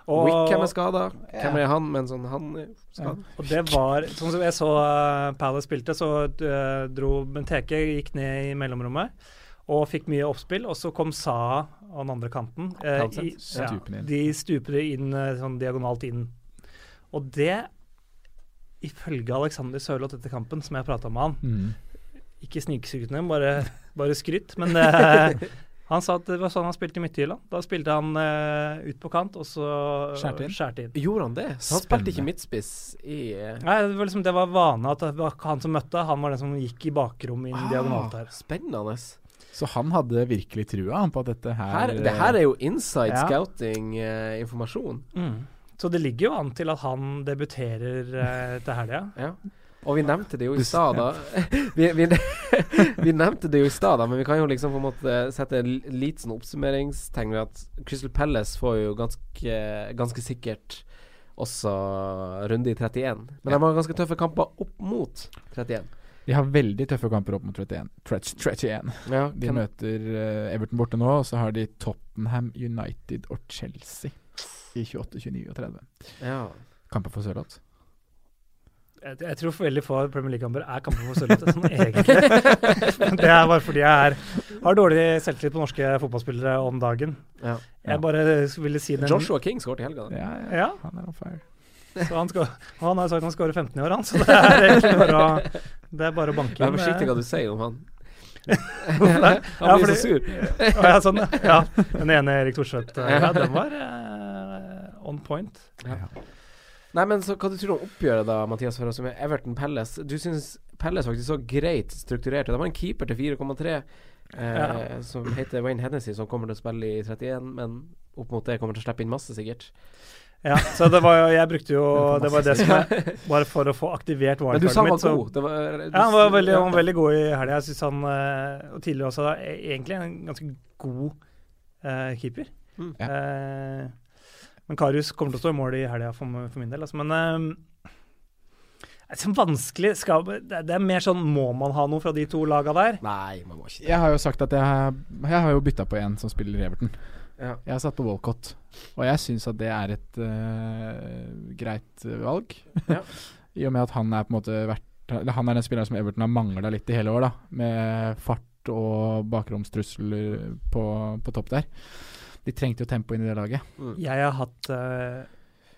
Speaker 3: Wickham er skada. Hvem er han? Men sånn, han er skada.
Speaker 2: Og det var Sånn som jeg så eh, Palace spilte, så eh, dro Benteke gikk ned i mellomrommet og fikk mye oppspill. Og så kom Saha av den andre kanten. eh, i, ja,
Speaker 4: Stupen inn.
Speaker 2: de stuper inn eh, sånn diagonalt inn. Og det, ifølge Alexander Sørloth etter kampen, som jeg prata med han
Speaker 4: Mm.
Speaker 2: Ikke snikskrytende, bare, bare skryt. Men eh, han sa at det var sånn han spilte i Midtjylland. Da spilte han eh, ut på kant, og så
Speaker 4: Skjærte inn.
Speaker 2: skjærte inn.
Speaker 3: Gjorde han det? Så han
Speaker 4: Spennende.
Speaker 3: spilte ikke midtspiss i eh,
Speaker 2: Nei, det var, liksom, det var vane at det var han som møtte, han var den som gikk i bakrommet
Speaker 4: Ah,
Speaker 2: inn
Speaker 3: Ah.
Speaker 2: diagonalt her.
Speaker 3: Spennende.
Speaker 4: Så han hadde virkelig trua han på at dette her,
Speaker 3: Her, det her er jo inside eh,
Speaker 4: Ja.
Speaker 3: scouting-informasjon.
Speaker 2: Så det ligger jo an til at han debuterer eh, til helga.
Speaker 3: Ja. Og vi nevnte det jo i stad, da. Vi, vi, vi nevnte det jo i stad, da, men vi kan jo liksom på en måte sette en liten sånn oppsummeringstegn ved at Crystal Palace får jo ganske, ganske sikkert også runde i 31. Men de har ganske tøffe kamper opp mot 31.
Speaker 4: De har veldig tøffe kamper opp mot 31. Tretch- 31.
Speaker 3: Ja,
Speaker 4: De møter eh, Everton borte nå, og så har de Tottenham, United og Chelsea i 28, 29 og 30.
Speaker 3: ja.
Speaker 4: Kamper for Sørloth.
Speaker 2: Jeg, jeg tror veldig få Premier League-kamper er kamper for Sørlandet, sånn egentlig. Men det er bare fordi jeg er, har dårlig selvtillit på norske fotballspillere om dagen.
Speaker 3: Ja.
Speaker 4: Ja.
Speaker 2: Jeg bare ville si den
Speaker 3: Joshua King skåret i helga. da.
Speaker 4: Ja, ja,
Speaker 2: Ja,
Speaker 4: han er on fire.
Speaker 2: så han, skal, han har sagt han skårer 15 i år, han. Så det er egentlig bare å, det er bare å banke
Speaker 3: Vær
Speaker 2: inn.
Speaker 3: forsiktig
Speaker 2: eh,
Speaker 3: hva du sier om han.
Speaker 2: Hvorfor det?
Speaker 3: Han blir
Speaker 2: fordi-
Speaker 3: så sur.
Speaker 2: Å, ja, sånn, ja. ja. Den ene Erik Thorstvedt, eh, ja, den var eh, on point.
Speaker 3: Nei, men så hva du tror du om oppgjøret da, Mathias Ferraas, med Everton Palace? Du syns Palace faktisk så greit strukturert. ut. De har en keeper til 4,3 eh,
Speaker 2: Ja.
Speaker 3: som heter Wayne Hennessy, som kommer til å spille i 31, men opp mot det kommer til å slippe inn masse, sikkert.
Speaker 2: Ja, så det var jo Jeg brukte jo Det var det som jeg Bare for å få aktivert
Speaker 3: Men du sa han
Speaker 2: wildcardet mitt,
Speaker 3: var
Speaker 2: så
Speaker 3: god. Det var, du,
Speaker 2: ja, han var veldig,
Speaker 3: ja.
Speaker 2: han var veldig god i helga. Jeg syns han, eh, og tidligere også, da, e- egentlig en ganske god eh, keeper.
Speaker 3: Mm.
Speaker 4: Ja.
Speaker 2: Eh, men Karius kommer til å stå i mål i helga for, m- for min del, altså. Men eh, det er så vanskelig skal, det, det er mer sånn Må man ha noe fra de to laga der?
Speaker 3: Nei, man må ikke det.
Speaker 4: Jeg har jo sagt at jeg, har- jeg har jo bytta på en som spiller i Everton.
Speaker 3: Ja.
Speaker 4: Jeg har satt på Walcott, og jeg syns at det er et eh, greit eh, valg.
Speaker 3: Ja.
Speaker 4: I og med at han er på en måte vært eller Han er den spilleren som Everton har mangla litt i hele år, da. Med fart og bakromstrusler på, på topp der. De trengte jo tempo inn i det laget.
Speaker 2: Jeg har hatt eh,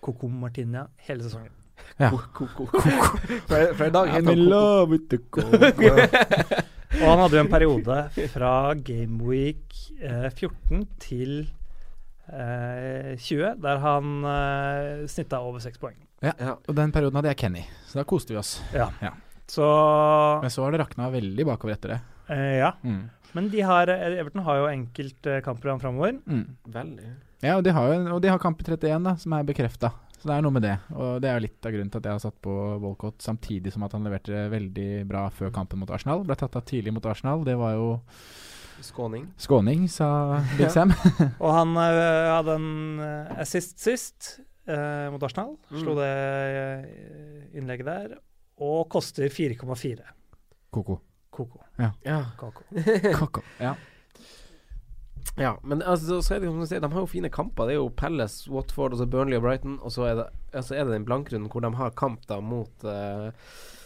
Speaker 2: Coco Martinia hele sesongen.
Speaker 3: Ko-ko. For, for i dag heter han Ko-ko.
Speaker 4: love with the cold
Speaker 2: Og han hadde jo en periode fra gameweek eh, 14 til eh, 20 der han eh, snitta over seks poeng.
Speaker 3: Ja.
Speaker 4: Og den perioden hadde jeg Kenny, så da koste vi oss.
Speaker 2: Så
Speaker 4: Men så har det rakna veldig bakover etter det.
Speaker 2: eh, ja.
Speaker 4: Mm.
Speaker 2: Men de har, eh, Everton har jo enkeltkamper framover.
Speaker 4: Mm.
Speaker 3: Veldig.
Speaker 4: Ja, og de har, jo- og de har kamp i 31, da, som er bekrefta. Så det er noe med det. Og det er jo litt av grunnen til at jeg har satt på Walcott, samtidig som at han leverte veldig bra før kampen mot Arsenal. Ble tatt av tidlig mot Arsenal. Det var jo
Speaker 3: Skåning.
Speaker 4: skåning, sa Big
Speaker 3: Ja.
Speaker 4: Sam.
Speaker 2: Og han eh, hadde en eh, assist sist eh, mot Arsenal. Slo det eh, innlegget der. Og koster 4,4
Speaker 4: Koko.
Speaker 2: koko.
Speaker 3: Ja.
Speaker 2: koko.
Speaker 4: Koko. Ja.
Speaker 3: Ja, men altså, så er det, jo som du sier, de har jo fine kamper. Det er jo Palace, Watford, og så Burnley og Brighton. Og så er det, ja, så er det den blankrunden hvor de har kamp da mot eh,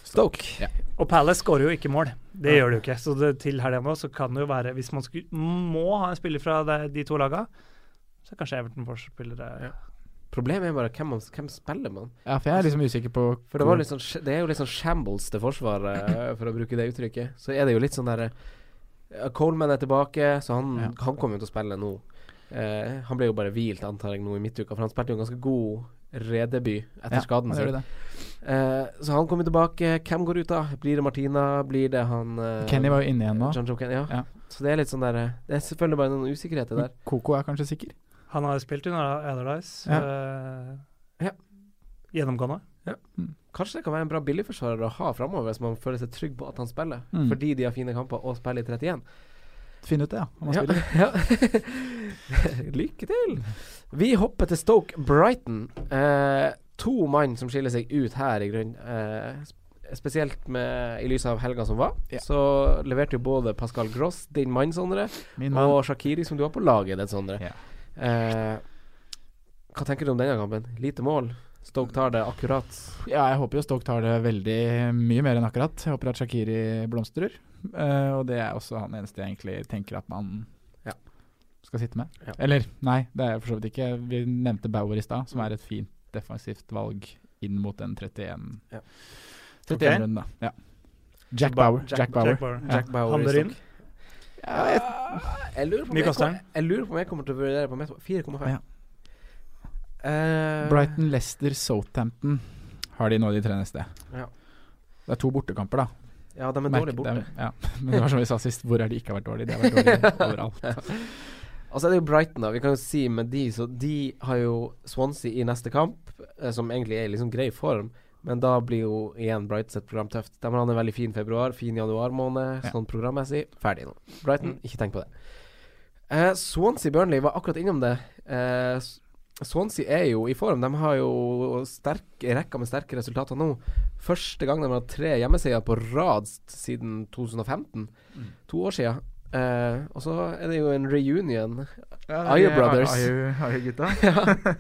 Speaker 3: Stoke.
Speaker 4: Ja.
Speaker 2: Og Palace skårer jo ikke mål. Det gjør det jo ikke. Så det, til helga nå så kan det jo være Hvis man skulle, må ha en spiller fra de, de to laga, så kanskje Everton får spillere
Speaker 3: Ja. Problemet er bare hvem, man, hvem spiller man?
Speaker 4: ja, for jeg er liksom usikker på
Speaker 3: For det, var litt sånn, sj- det er jo litt sånn shambles til forsvaret, eh, for å bruke det uttrykket. Så er det jo litt sånn derre Coleman er tilbake, så han,
Speaker 4: Ja.
Speaker 3: han kommer jo til å spille nå. Eh, han ble jo bare hvilt, antar jeg, nå i midtuka, for han spilte jo en ganske god redebut etter
Speaker 4: ja,
Speaker 3: skaden
Speaker 4: han gjør
Speaker 3: sin.
Speaker 4: det.
Speaker 3: Eh, så han kommer tilbake. Hvem går ut, da? Blir det Martina? Blir det han eh,
Speaker 4: Kenny var jo inne igjen nå.
Speaker 3: John Joe Kenny, ja.
Speaker 4: Ja.
Speaker 3: Så det er litt sånn der eh, Det er selvfølgelig bare noen usikkerheter
Speaker 4: Men
Speaker 3: der.
Speaker 4: Koko er kanskje sikker.
Speaker 2: Han har jo spilt under Allardyce. eh,
Speaker 3: Ja.
Speaker 2: Gjennomgående.
Speaker 3: Kanskje det kan være en bra billigforsvarer å ha framover hvis man føler seg trygg på at han spiller,
Speaker 4: Mm.
Speaker 3: fordi de har fine kamper og spiller i 31.
Speaker 4: finne ut det, ja. Om han
Speaker 3: Ja,
Speaker 4: spiller.
Speaker 3: ja. Lykke til! Vi hopper til Stoke Brighton. Eh, to mann som skiller seg ut her, i grunnen. Eh, sp- spesielt med, i lys av helga som var.
Speaker 4: Ja.
Speaker 3: Så leverte jo både Pascal Gross, din mann, Sondre,
Speaker 4: Min mann.
Speaker 3: og Shakiri, som du har på laget ditt, Sondre.
Speaker 4: Ja.
Speaker 3: Eh, hva tenker du om denne kampen? Lite mål. Stoke tar det akkurat.
Speaker 4: Ja, jeg håper jo Stoke tar det veldig eh, mye mer enn akkurat. Jeg håper at Shakiri blomstrer. Eh, og det er også han eneste jeg egentlig tenker at man
Speaker 3: Ja.
Speaker 4: skal sitte med.
Speaker 3: Ja.
Speaker 4: Eller nei, det er jeg for så vidt ikke. Vi nevnte Bauer i stad, som
Speaker 3: Mm.
Speaker 4: er et fint defensivt valg inn mot den 31
Speaker 3: Ja.
Speaker 4: 31 runden, da. Ja. Jack Bauer.
Speaker 2: Jack-
Speaker 4: Jack, Bauer.
Speaker 2: Jack Bauer.
Speaker 4: Ja.
Speaker 3: Jack Bauer i
Speaker 2: Handler inn.
Speaker 3: Stoke. Ja, jeg, jeg, lurer på om
Speaker 2: Mye
Speaker 3: jeg,
Speaker 2: koster
Speaker 3: kom-
Speaker 2: den?
Speaker 3: jeg lurer på om jeg kommer til å vurdere på mitt- 4,5.
Speaker 4: Ja.
Speaker 3: Eh,
Speaker 4: Brighton, Leicester, Southampton har de nå de tre neste.
Speaker 3: Ja.
Speaker 4: Det er to bortekamper, da.
Speaker 3: Ja, de er
Speaker 4: Merk-
Speaker 3: dårlig borte.
Speaker 4: det er- ja. Men det var som vi sa sist, hvor er de ikke har vært dårlige? De har vært dårlige overalt.
Speaker 3: Altså, det er jo Brighton, da. Vi kan jo si med de, så de har jo Swansea i neste kamp, eh, som egentlig er i liksom grei form. Men da blir jo igjen Brighton sitt program tøft. De har hatt en veldig fin februar, fin januar måned,
Speaker 4: Ja.
Speaker 3: sånn programmessig. Ferdig nå. Brighton, ikke tenk på det. Eh, Swansea-Burnley var akkurat innom det. Eh, S- Swansea er jo i form. De har jo sterk, rekka med sterke resultater nå. Første gang de har hatt tre hjemmeseier på rad s- siden 2015. To år sia. Eh, og så er det jo en reunion. Ayer
Speaker 4: det er
Speaker 3: Brothers.
Speaker 4: Ayer- Ayer-gutta.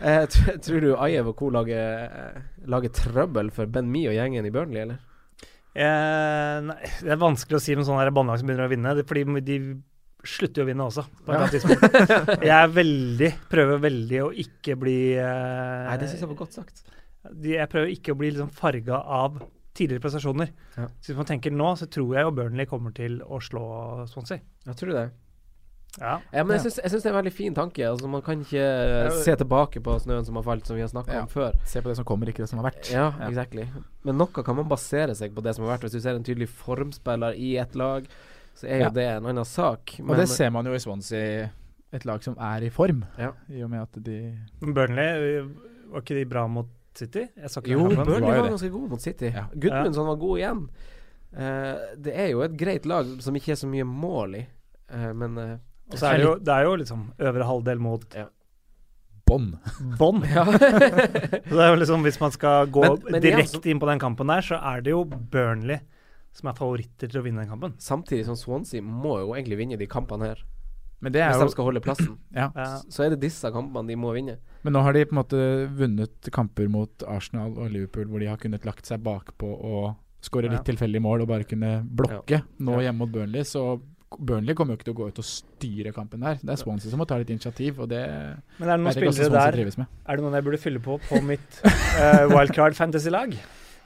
Speaker 3: Eh, tr tror du Ajev og co. lager, eh, lager trøbbel for Ben Mee og gjengen i Burnley, eller?
Speaker 2: Eh, nei, det er vanskelig å si med sånne her båndlag som begynner å vinne, det, fordi de slutter jo å vinne også. På et eller annet tidspunkt. Jeg er veldig, prøver veldig å ikke bli eh,
Speaker 3: Nei, det syns jeg var godt sagt.
Speaker 2: de, Jeg prøver ikke å bli liksom farga av tidligere prestasjoner.
Speaker 3: Ja.
Speaker 2: Så hvis man tenker nå, så tror jeg jo Burnley kommer til å slå Swansea.
Speaker 3: Ja, tror du det?
Speaker 2: Ja.
Speaker 3: Ja, men jeg syns, jeg syns det er en veldig fin tanke. Altså, man kan ikke eh, se tilbake på snøen som har falt, som vi har snakka
Speaker 4: Ja.
Speaker 3: om før.
Speaker 4: Se på det som kommer, ikke det som har vært.
Speaker 3: Ja, exactly. Men noe kan man basere seg på det som har vært. Hvis du ser en tydelig formspiller i et lag, så er jo
Speaker 4: Ja.
Speaker 3: det en annen sak.
Speaker 4: Og det ser man jo i Swansea, et lag som er i form.
Speaker 3: Ja.
Speaker 4: I og med at de
Speaker 2: Men Burnley, eh, var ikke de bra mot City? Jeg så ikke
Speaker 3: Jo,
Speaker 2: den kampen.
Speaker 3: Burnley
Speaker 4: var jo
Speaker 3: var
Speaker 4: det.
Speaker 3: ganske god mot City.
Speaker 4: Ja.
Speaker 3: Gudmundsson var god igjen. Eh, det er jo et greit lag som ikke er så mye mål i, eh, men eh,
Speaker 2: Og så er det, jo, det er jo liksom øvre halvdel mot
Speaker 4: bånn!
Speaker 2: bånn. Så det er jo liksom, hvis man skal gå
Speaker 3: Men- altså- men igjen
Speaker 2: direkte inn på den kampen der, så er det jo Burnley som er favoritter til å vinne den kampen.
Speaker 3: Samtidig som Swansea må jo egentlig vinne de kampene her,
Speaker 4: Men det er
Speaker 3: hvis de
Speaker 4: jo
Speaker 3: skal holde plassen.
Speaker 4: ja.
Speaker 2: Ja.
Speaker 3: Så er det disse kampene de må vinne.
Speaker 4: Men nå har de på en måte vunnet kamper mot Arsenal og Liverpool hvor de har kunnet lagt seg bakpå og skåre litt
Speaker 2: Ja.
Speaker 4: tilfeldige mål og bare kunne blokke. Nå hjemme mot Burnley, så Burnley kommer jo ikke til å gå ut og styre kampen der. Det er Swansea som må ta litt initiativ, og det
Speaker 2: Men er det noen
Speaker 4: vet jeg ikke
Speaker 2: spillere
Speaker 4: hvordan Swansea
Speaker 2: der
Speaker 4: trives med.
Speaker 2: Er det noen jeg burde fylle på på mitt eh, wildcard fantasy-lag?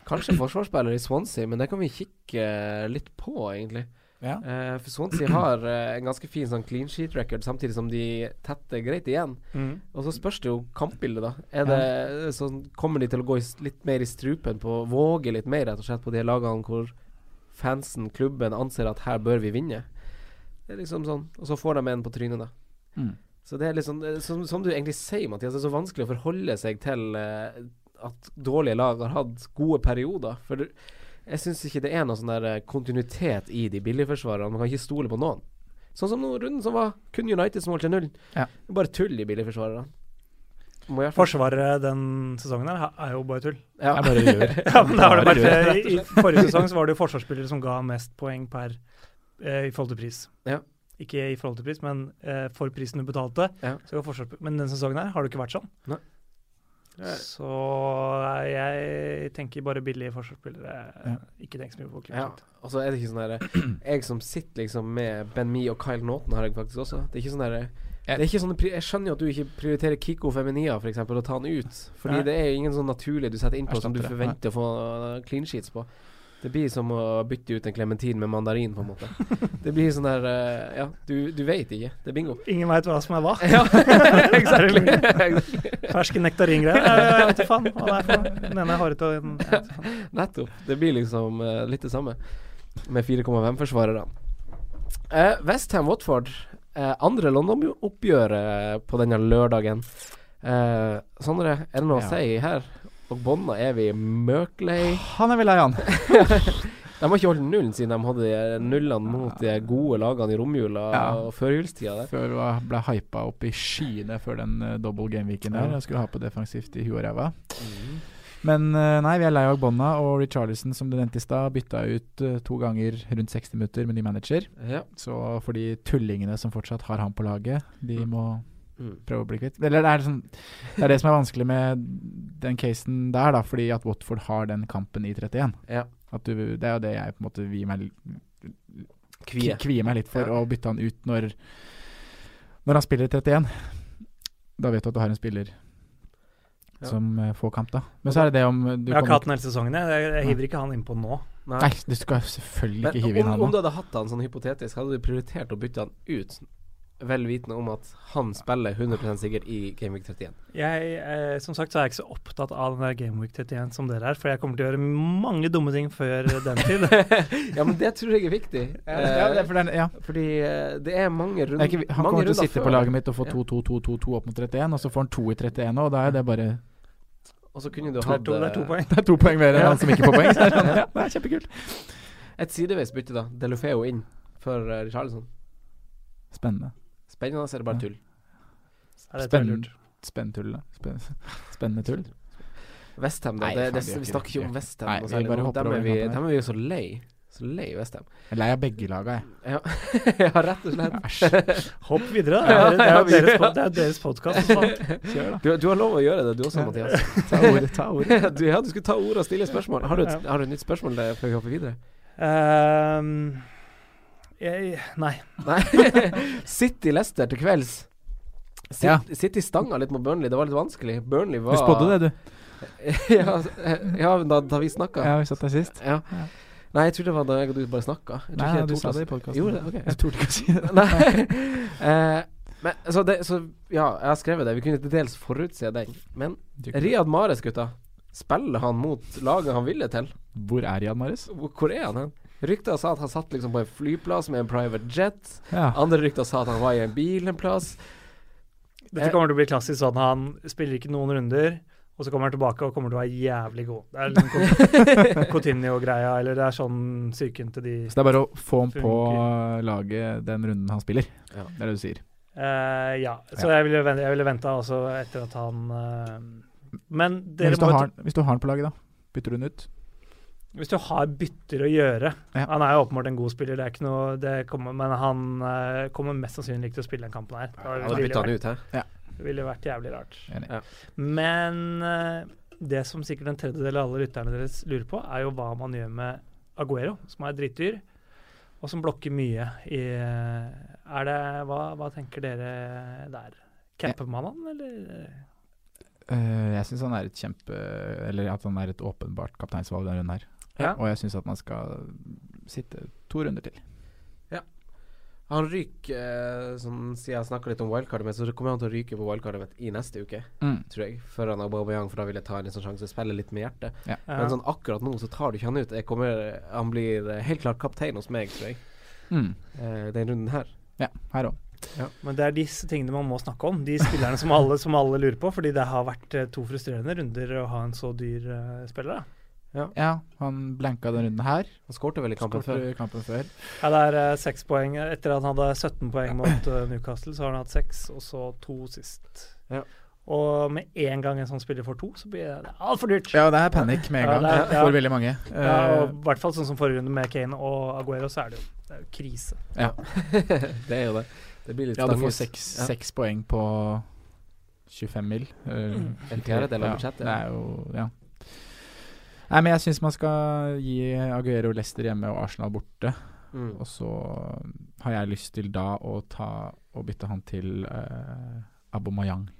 Speaker 3: Kanskje forsvarsspiller i Swansea, men det kan vi kikke litt på, egentlig.
Speaker 4: Ja.
Speaker 3: Eh, for Swansea har eh, en ganske fin sånn clean sheet record, samtidig som de tetter greit igjen.
Speaker 4: Mm.
Speaker 3: Og så spørs det jo kampbildet, da. Er det, så kommer de til å gå i, s- litt mer i strupen på Våge litt mer, rett og slett, på de lagene hvor fansen, klubben, anser at her bør vi vinne? Det er liksom sånn. Og så får de en på trynet, da.
Speaker 4: Mm.
Speaker 3: Så det er liksom eh, som, som du egentlig sier, Mathias, det er så vanskelig å forholde seg til eh, at dårlige lag har hatt gode perioder. For du- jeg syns ikke det er noe sånn der eh, kontinuitet i de billigforsvarerne. Man kan ikke stole på noen. Sånn som nå runden som var, kun Uniteds mål til null.
Speaker 4: Ja.
Speaker 3: Det er Bare tull i billigforsvarerne. Må i hvert fall-
Speaker 2: Forsvaret den sesongen her ha- er jo bare tull.
Speaker 3: Ja.
Speaker 4: Jeg bare gjør.
Speaker 2: Ja, men det har det
Speaker 4: Bare rør.
Speaker 2: vært, I i forrige sesong så var det jo forsvarsspillere som ga mest poeng per eh, i forhold til pris.
Speaker 3: Ja.
Speaker 2: Ikke i forhold til pris, men eh, for prisen du betalte.
Speaker 3: Ja.
Speaker 2: Så ga forsvarsspill- men den sesongen her har det ikke vært sånn. Eh,
Speaker 3: Nei.
Speaker 2: Så jeg tenker bare billige forsvarsspillere. eh, Ikke tenk så mye på
Speaker 3: Ja.
Speaker 2: klippet.
Speaker 3: Og så er det ikke sånn derre Jeg som sitter liksom med Ben Mee og Kyle Naughton, har jeg faktisk også. Det er ikke sånn derre det er ikke sånn, Jeg skjønner jo at du ikke prioriterer Kiko Feminia for eksempel, og tar han ut. Fordi
Speaker 2: Nei.
Speaker 3: det er jo ingen sånn naturlig du setter innpå som du
Speaker 4: Erstatter det.
Speaker 3: forventer å få uh, clean sheets på. Det blir som å bytte ut en klementin med mandarin, på en måte. Det blir sånn der uh, Ja, du, du veit ikke. Det er bingo.
Speaker 2: Ingen veit hva som er hva.
Speaker 3: Ja, exactly.
Speaker 2: Ferske nektaringreier. Jeg Eh, jeg vet ikke faen hva det er for noe. Den ene er hardete og den jeg vet ikke faen.
Speaker 3: Nettopp. Det blir liksom eh, litt det samme med 4,5-forsvarerne. Uh, Westham Watford, eh, andre London-oppgjøret eh, på denne lørdagen. Eh, Sondre, er det noe å
Speaker 4: Ja.
Speaker 3: si her? Og bånda er vi møklei.
Speaker 4: Han er vel lei, han.
Speaker 3: De har ikke holdt nullen siden de hadde de her nullene mot de gode lagene i romjula
Speaker 4: Ja.
Speaker 3: og førjulstida der.
Speaker 4: Før det var- ble hypa opp i skyene før den uh, double game-weeken der. Jeg skulle ha på defensivt i huet og ræva.
Speaker 3: Mm.
Speaker 4: Men eh, nei, vi er lei av Bonna, og Richarlison, som du nevnte i stad, bytta ut eh, to ganger rundt 60 minutter med ny manager.
Speaker 3: Ja.
Speaker 4: Så for de tullingene som fortsatt har han på laget, de må
Speaker 3: Mm.
Speaker 4: prøve å bli kvitt Eller det er, liksom, det er det som er vanskelig med den casen der, da, fordi at Watford har den kampen i 31.
Speaker 3: Ja.
Speaker 4: At du, det er jo det jeg på en måte vier meg
Speaker 3: Kvie.
Speaker 4: kvier meg litt for
Speaker 3: Ja.
Speaker 4: å bytte han ut når Når han spiller 31. Da vet du at du har en spiller
Speaker 3: Ja.
Speaker 4: som eh, får kamp, da. Men så er det det om du
Speaker 2: Jeg har
Speaker 4: kommer-
Speaker 2: ikke hatt den hele sesongen, jeg. Jeg- Jeg hiver ikke han innpå nå.
Speaker 3: Nei.
Speaker 4: Nei, du skal selvfølgelig
Speaker 3: Men
Speaker 4: ikke hive inn
Speaker 3: om,
Speaker 4: han
Speaker 3: om
Speaker 4: nå.
Speaker 3: du hadde hatt han sånn hypotetisk, hadde du prioritert å bytte han ut, vel vitende om at han spiller 100 sikkert i Game Week 31?
Speaker 2: Jeg, eh, som sagt så er jeg ikke så opptatt av den der Gameweek 31 som dere er, for jeg kommer til å gjøre mange dumme ting før den tid.
Speaker 3: Ja, men det tror jeg er viktig.
Speaker 4: Ja, det er for den, ja.
Speaker 3: Eh, fordi eh, det er mange
Speaker 4: Det
Speaker 3: runder
Speaker 4: er ikke, han
Speaker 3: mange
Speaker 4: kommer til å
Speaker 3: runder
Speaker 4: sitte
Speaker 3: før.
Speaker 4: på laget mitt og få
Speaker 3: Ja.
Speaker 4: 2-2-2-2 opp mot 31, og så får han 2 i 31 nå, og da er det bare
Speaker 3: Og så kunne du
Speaker 2: Det er
Speaker 3: hatt
Speaker 2: to, det er to
Speaker 3: eh,
Speaker 2: poeng.
Speaker 4: Det er to poeng mer enn han som ikke får poeng. Så det er sånn, ja, det er kjempekult.
Speaker 3: et sideveis bytte, da. Delofeo inn for uh, Charlison.
Speaker 4: Spennende.
Speaker 3: Spennende, så er det bare
Speaker 4: Ja.
Speaker 3: tull.
Speaker 2: Ja, det tror jeg er lurt.
Speaker 4: Spennende, spennende, spennende, spennende tull.
Speaker 3: Westham, da.
Speaker 4: Nei,
Speaker 3: det,
Speaker 4: faen,
Speaker 3: det,
Speaker 4: de gjør
Speaker 3: vi
Speaker 4: ikke
Speaker 3: snakker
Speaker 4: det.
Speaker 3: ikke om
Speaker 4: De gjør
Speaker 3: Westham.
Speaker 4: Nei,
Speaker 3: noe
Speaker 4: vi
Speaker 3: særlig
Speaker 4: bare
Speaker 3: nå.
Speaker 4: hopper
Speaker 3: dem
Speaker 4: over
Speaker 3: er vi,
Speaker 4: den kampen her.
Speaker 3: dem er vi jo så lei. Så lei Westham.
Speaker 4: Jeg er lei av begge laga, jeg.
Speaker 3: ja, rett og slett.
Speaker 4: Æsj.
Speaker 2: Hopp videre, da.
Speaker 3: Ja,
Speaker 2: Det er jo
Speaker 3: ja, vi-
Speaker 2: deres pod- det er jo deres podkast.
Speaker 4: Kjør, da.
Speaker 3: Du, du har lov å gjøre det, du også, Mathias.
Speaker 4: Ta ordet, ta ordet.
Speaker 3: du, ja, du skulle ta ordet og stille spørsmål. Har du, et,
Speaker 2: Ja.
Speaker 3: har du et nytt spørsmål der før vi hopper videre?
Speaker 2: Ehm, jeg, nei.
Speaker 3: Nei. City Leicester til kvelds. Sitt,
Speaker 4: Ja.
Speaker 3: City stanga litt mot Burnley, det var litt vanskelig. Burnley var
Speaker 4: Du spådde det, du.
Speaker 3: ja, eh, ja, da, da vi snakka. Ja.
Speaker 4: Ja, vi satt der sist.
Speaker 3: Nei, jeg tror det var da jeg og du bare snakka. Jeg tror
Speaker 4: Nei,
Speaker 3: ikke jeg
Speaker 4: du
Speaker 3: torde
Speaker 4: sa
Speaker 3: å-
Speaker 4: det i podkasten.
Speaker 3: Gjorde det? Ok.
Speaker 4: Jeg torde ikke å si det.
Speaker 3: Nei. Eh, men, så, det, så ja, jeg har skrevet det. Vi kunne til dels forutse den. Men Riyad Mares, gutta. Spiller han mot laget han ville til?
Speaker 4: Hvor er Jan Marius?
Speaker 3: Hvor hvor er han hen? Rykter sa at han satt liksom på en flyplass med en private jet.
Speaker 4: Ja.
Speaker 3: Andre rykter sa at han var i en bil en plass.
Speaker 2: Dette kommer til å bli klassisk sånn han spiller ikke noen runder, og så kommer han tilbake og kommer til å være jævlig god. Det er liksom Cotinio-greia, eller det er sånn psyken til de
Speaker 4: Så det er bare å få ham på
Speaker 2: Funker.
Speaker 4: eh, laget den runden han spiller.
Speaker 3: Ja.
Speaker 4: Det er det du sier.
Speaker 2: Eh, Ja. Så jeg ville, vente, jeg ville venta også etter at han eh, Men
Speaker 4: Men
Speaker 2: dere
Speaker 4: hvis,
Speaker 2: må
Speaker 4: du
Speaker 2: jo
Speaker 4: har, han- hvis du har han på laget, da? Bytter du den ut?
Speaker 2: Hvis du har bytter å gjøre
Speaker 4: Ja.
Speaker 2: Han er jo åpenbart en god spiller, det er ikke noe, det kommer, men han eh, kommer mest sannsynlig ikke til å spille den kampen her. Da
Speaker 3: Ja, da
Speaker 2: ville det
Speaker 3: bytta han ut,
Speaker 2: vært,
Speaker 3: hæ?
Speaker 2: ville vært jævlig rart.
Speaker 4: Enig.
Speaker 3: Ja.
Speaker 2: Men eh, det som sikkert en tredjedel av alle lytterne deres lurer på, er jo hva man gjør med Aguero, som er drittdyr, og som blokker mye i eh, Er det Hva, hva tenker dere der? Capper man han, eller?
Speaker 4: Eh, jeg syns han er et kjempe Eller at han er et åpenbart kapteinsvalg denne runden her.
Speaker 2: Ja.
Speaker 4: Og jeg syns at man skal sitte to runder til.
Speaker 3: Han ryker, eh, som siden jeg snakka litt om wildcardet mitt, så kommer han til å ryke på wildcardet mitt i neste uke, tror jeg. Før han Aubameyang, for da vil jeg ta en liten sjanse, spille litt med hjertet. Men sånn akkurat nå så tar du ikke han ut. Jeg kommer, han blir eh, helt klart kaptein hos meg, tror jeg,
Speaker 4: Mm.
Speaker 3: eh, den runden her.
Speaker 4: Ja, her òg.
Speaker 2: Men det er disse tingene man må snakke om. De spillerne som alle, som alle lurer på. Fordi det har vært eh, to frustrerende runder å ha en så dyr eh, spiller. Da.
Speaker 4: Ja, han blanka den runden her.
Speaker 3: Han skårte vel i kampen før.
Speaker 4: Skårte kampen før.
Speaker 2: Ja, det er eh, seks poeng. Etter at han hadde 17 poeng mot eh, Newcastle, så har han hatt seks, og så to sist.
Speaker 3: Ja.
Speaker 2: Og med en gang en sånn spiller får to, så blir det altfor dyrt.
Speaker 4: Ja, det er panikk med en
Speaker 2: Ja,
Speaker 4: gang
Speaker 2: det er- ja.
Speaker 4: for veldig mange.
Speaker 2: Ja,
Speaker 4: Eh,
Speaker 2: og I hvert fall sånn som forrige runde med Kane og Aguero, så er det jo, det er jo krise.
Speaker 4: Eh,
Speaker 3: Det er jo det. Det blir litt
Speaker 4: ja, du får
Speaker 3: stanges.
Speaker 4: seks,
Speaker 3: Ja.
Speaker 4: seks poeng på 25 mil. eh,
Speaker 3: Mm. En fjerdedel av budsjettet.
Speaker 4: Ja, det er jo Ja. Nei, men jeg syns man skal gi Aguero Leicester hjemme og Arsenal borte.
Speaker 3: Mm.
Speaker 4: Og så har jeg lyst til da å ta og bytte han til uh, Abomayang.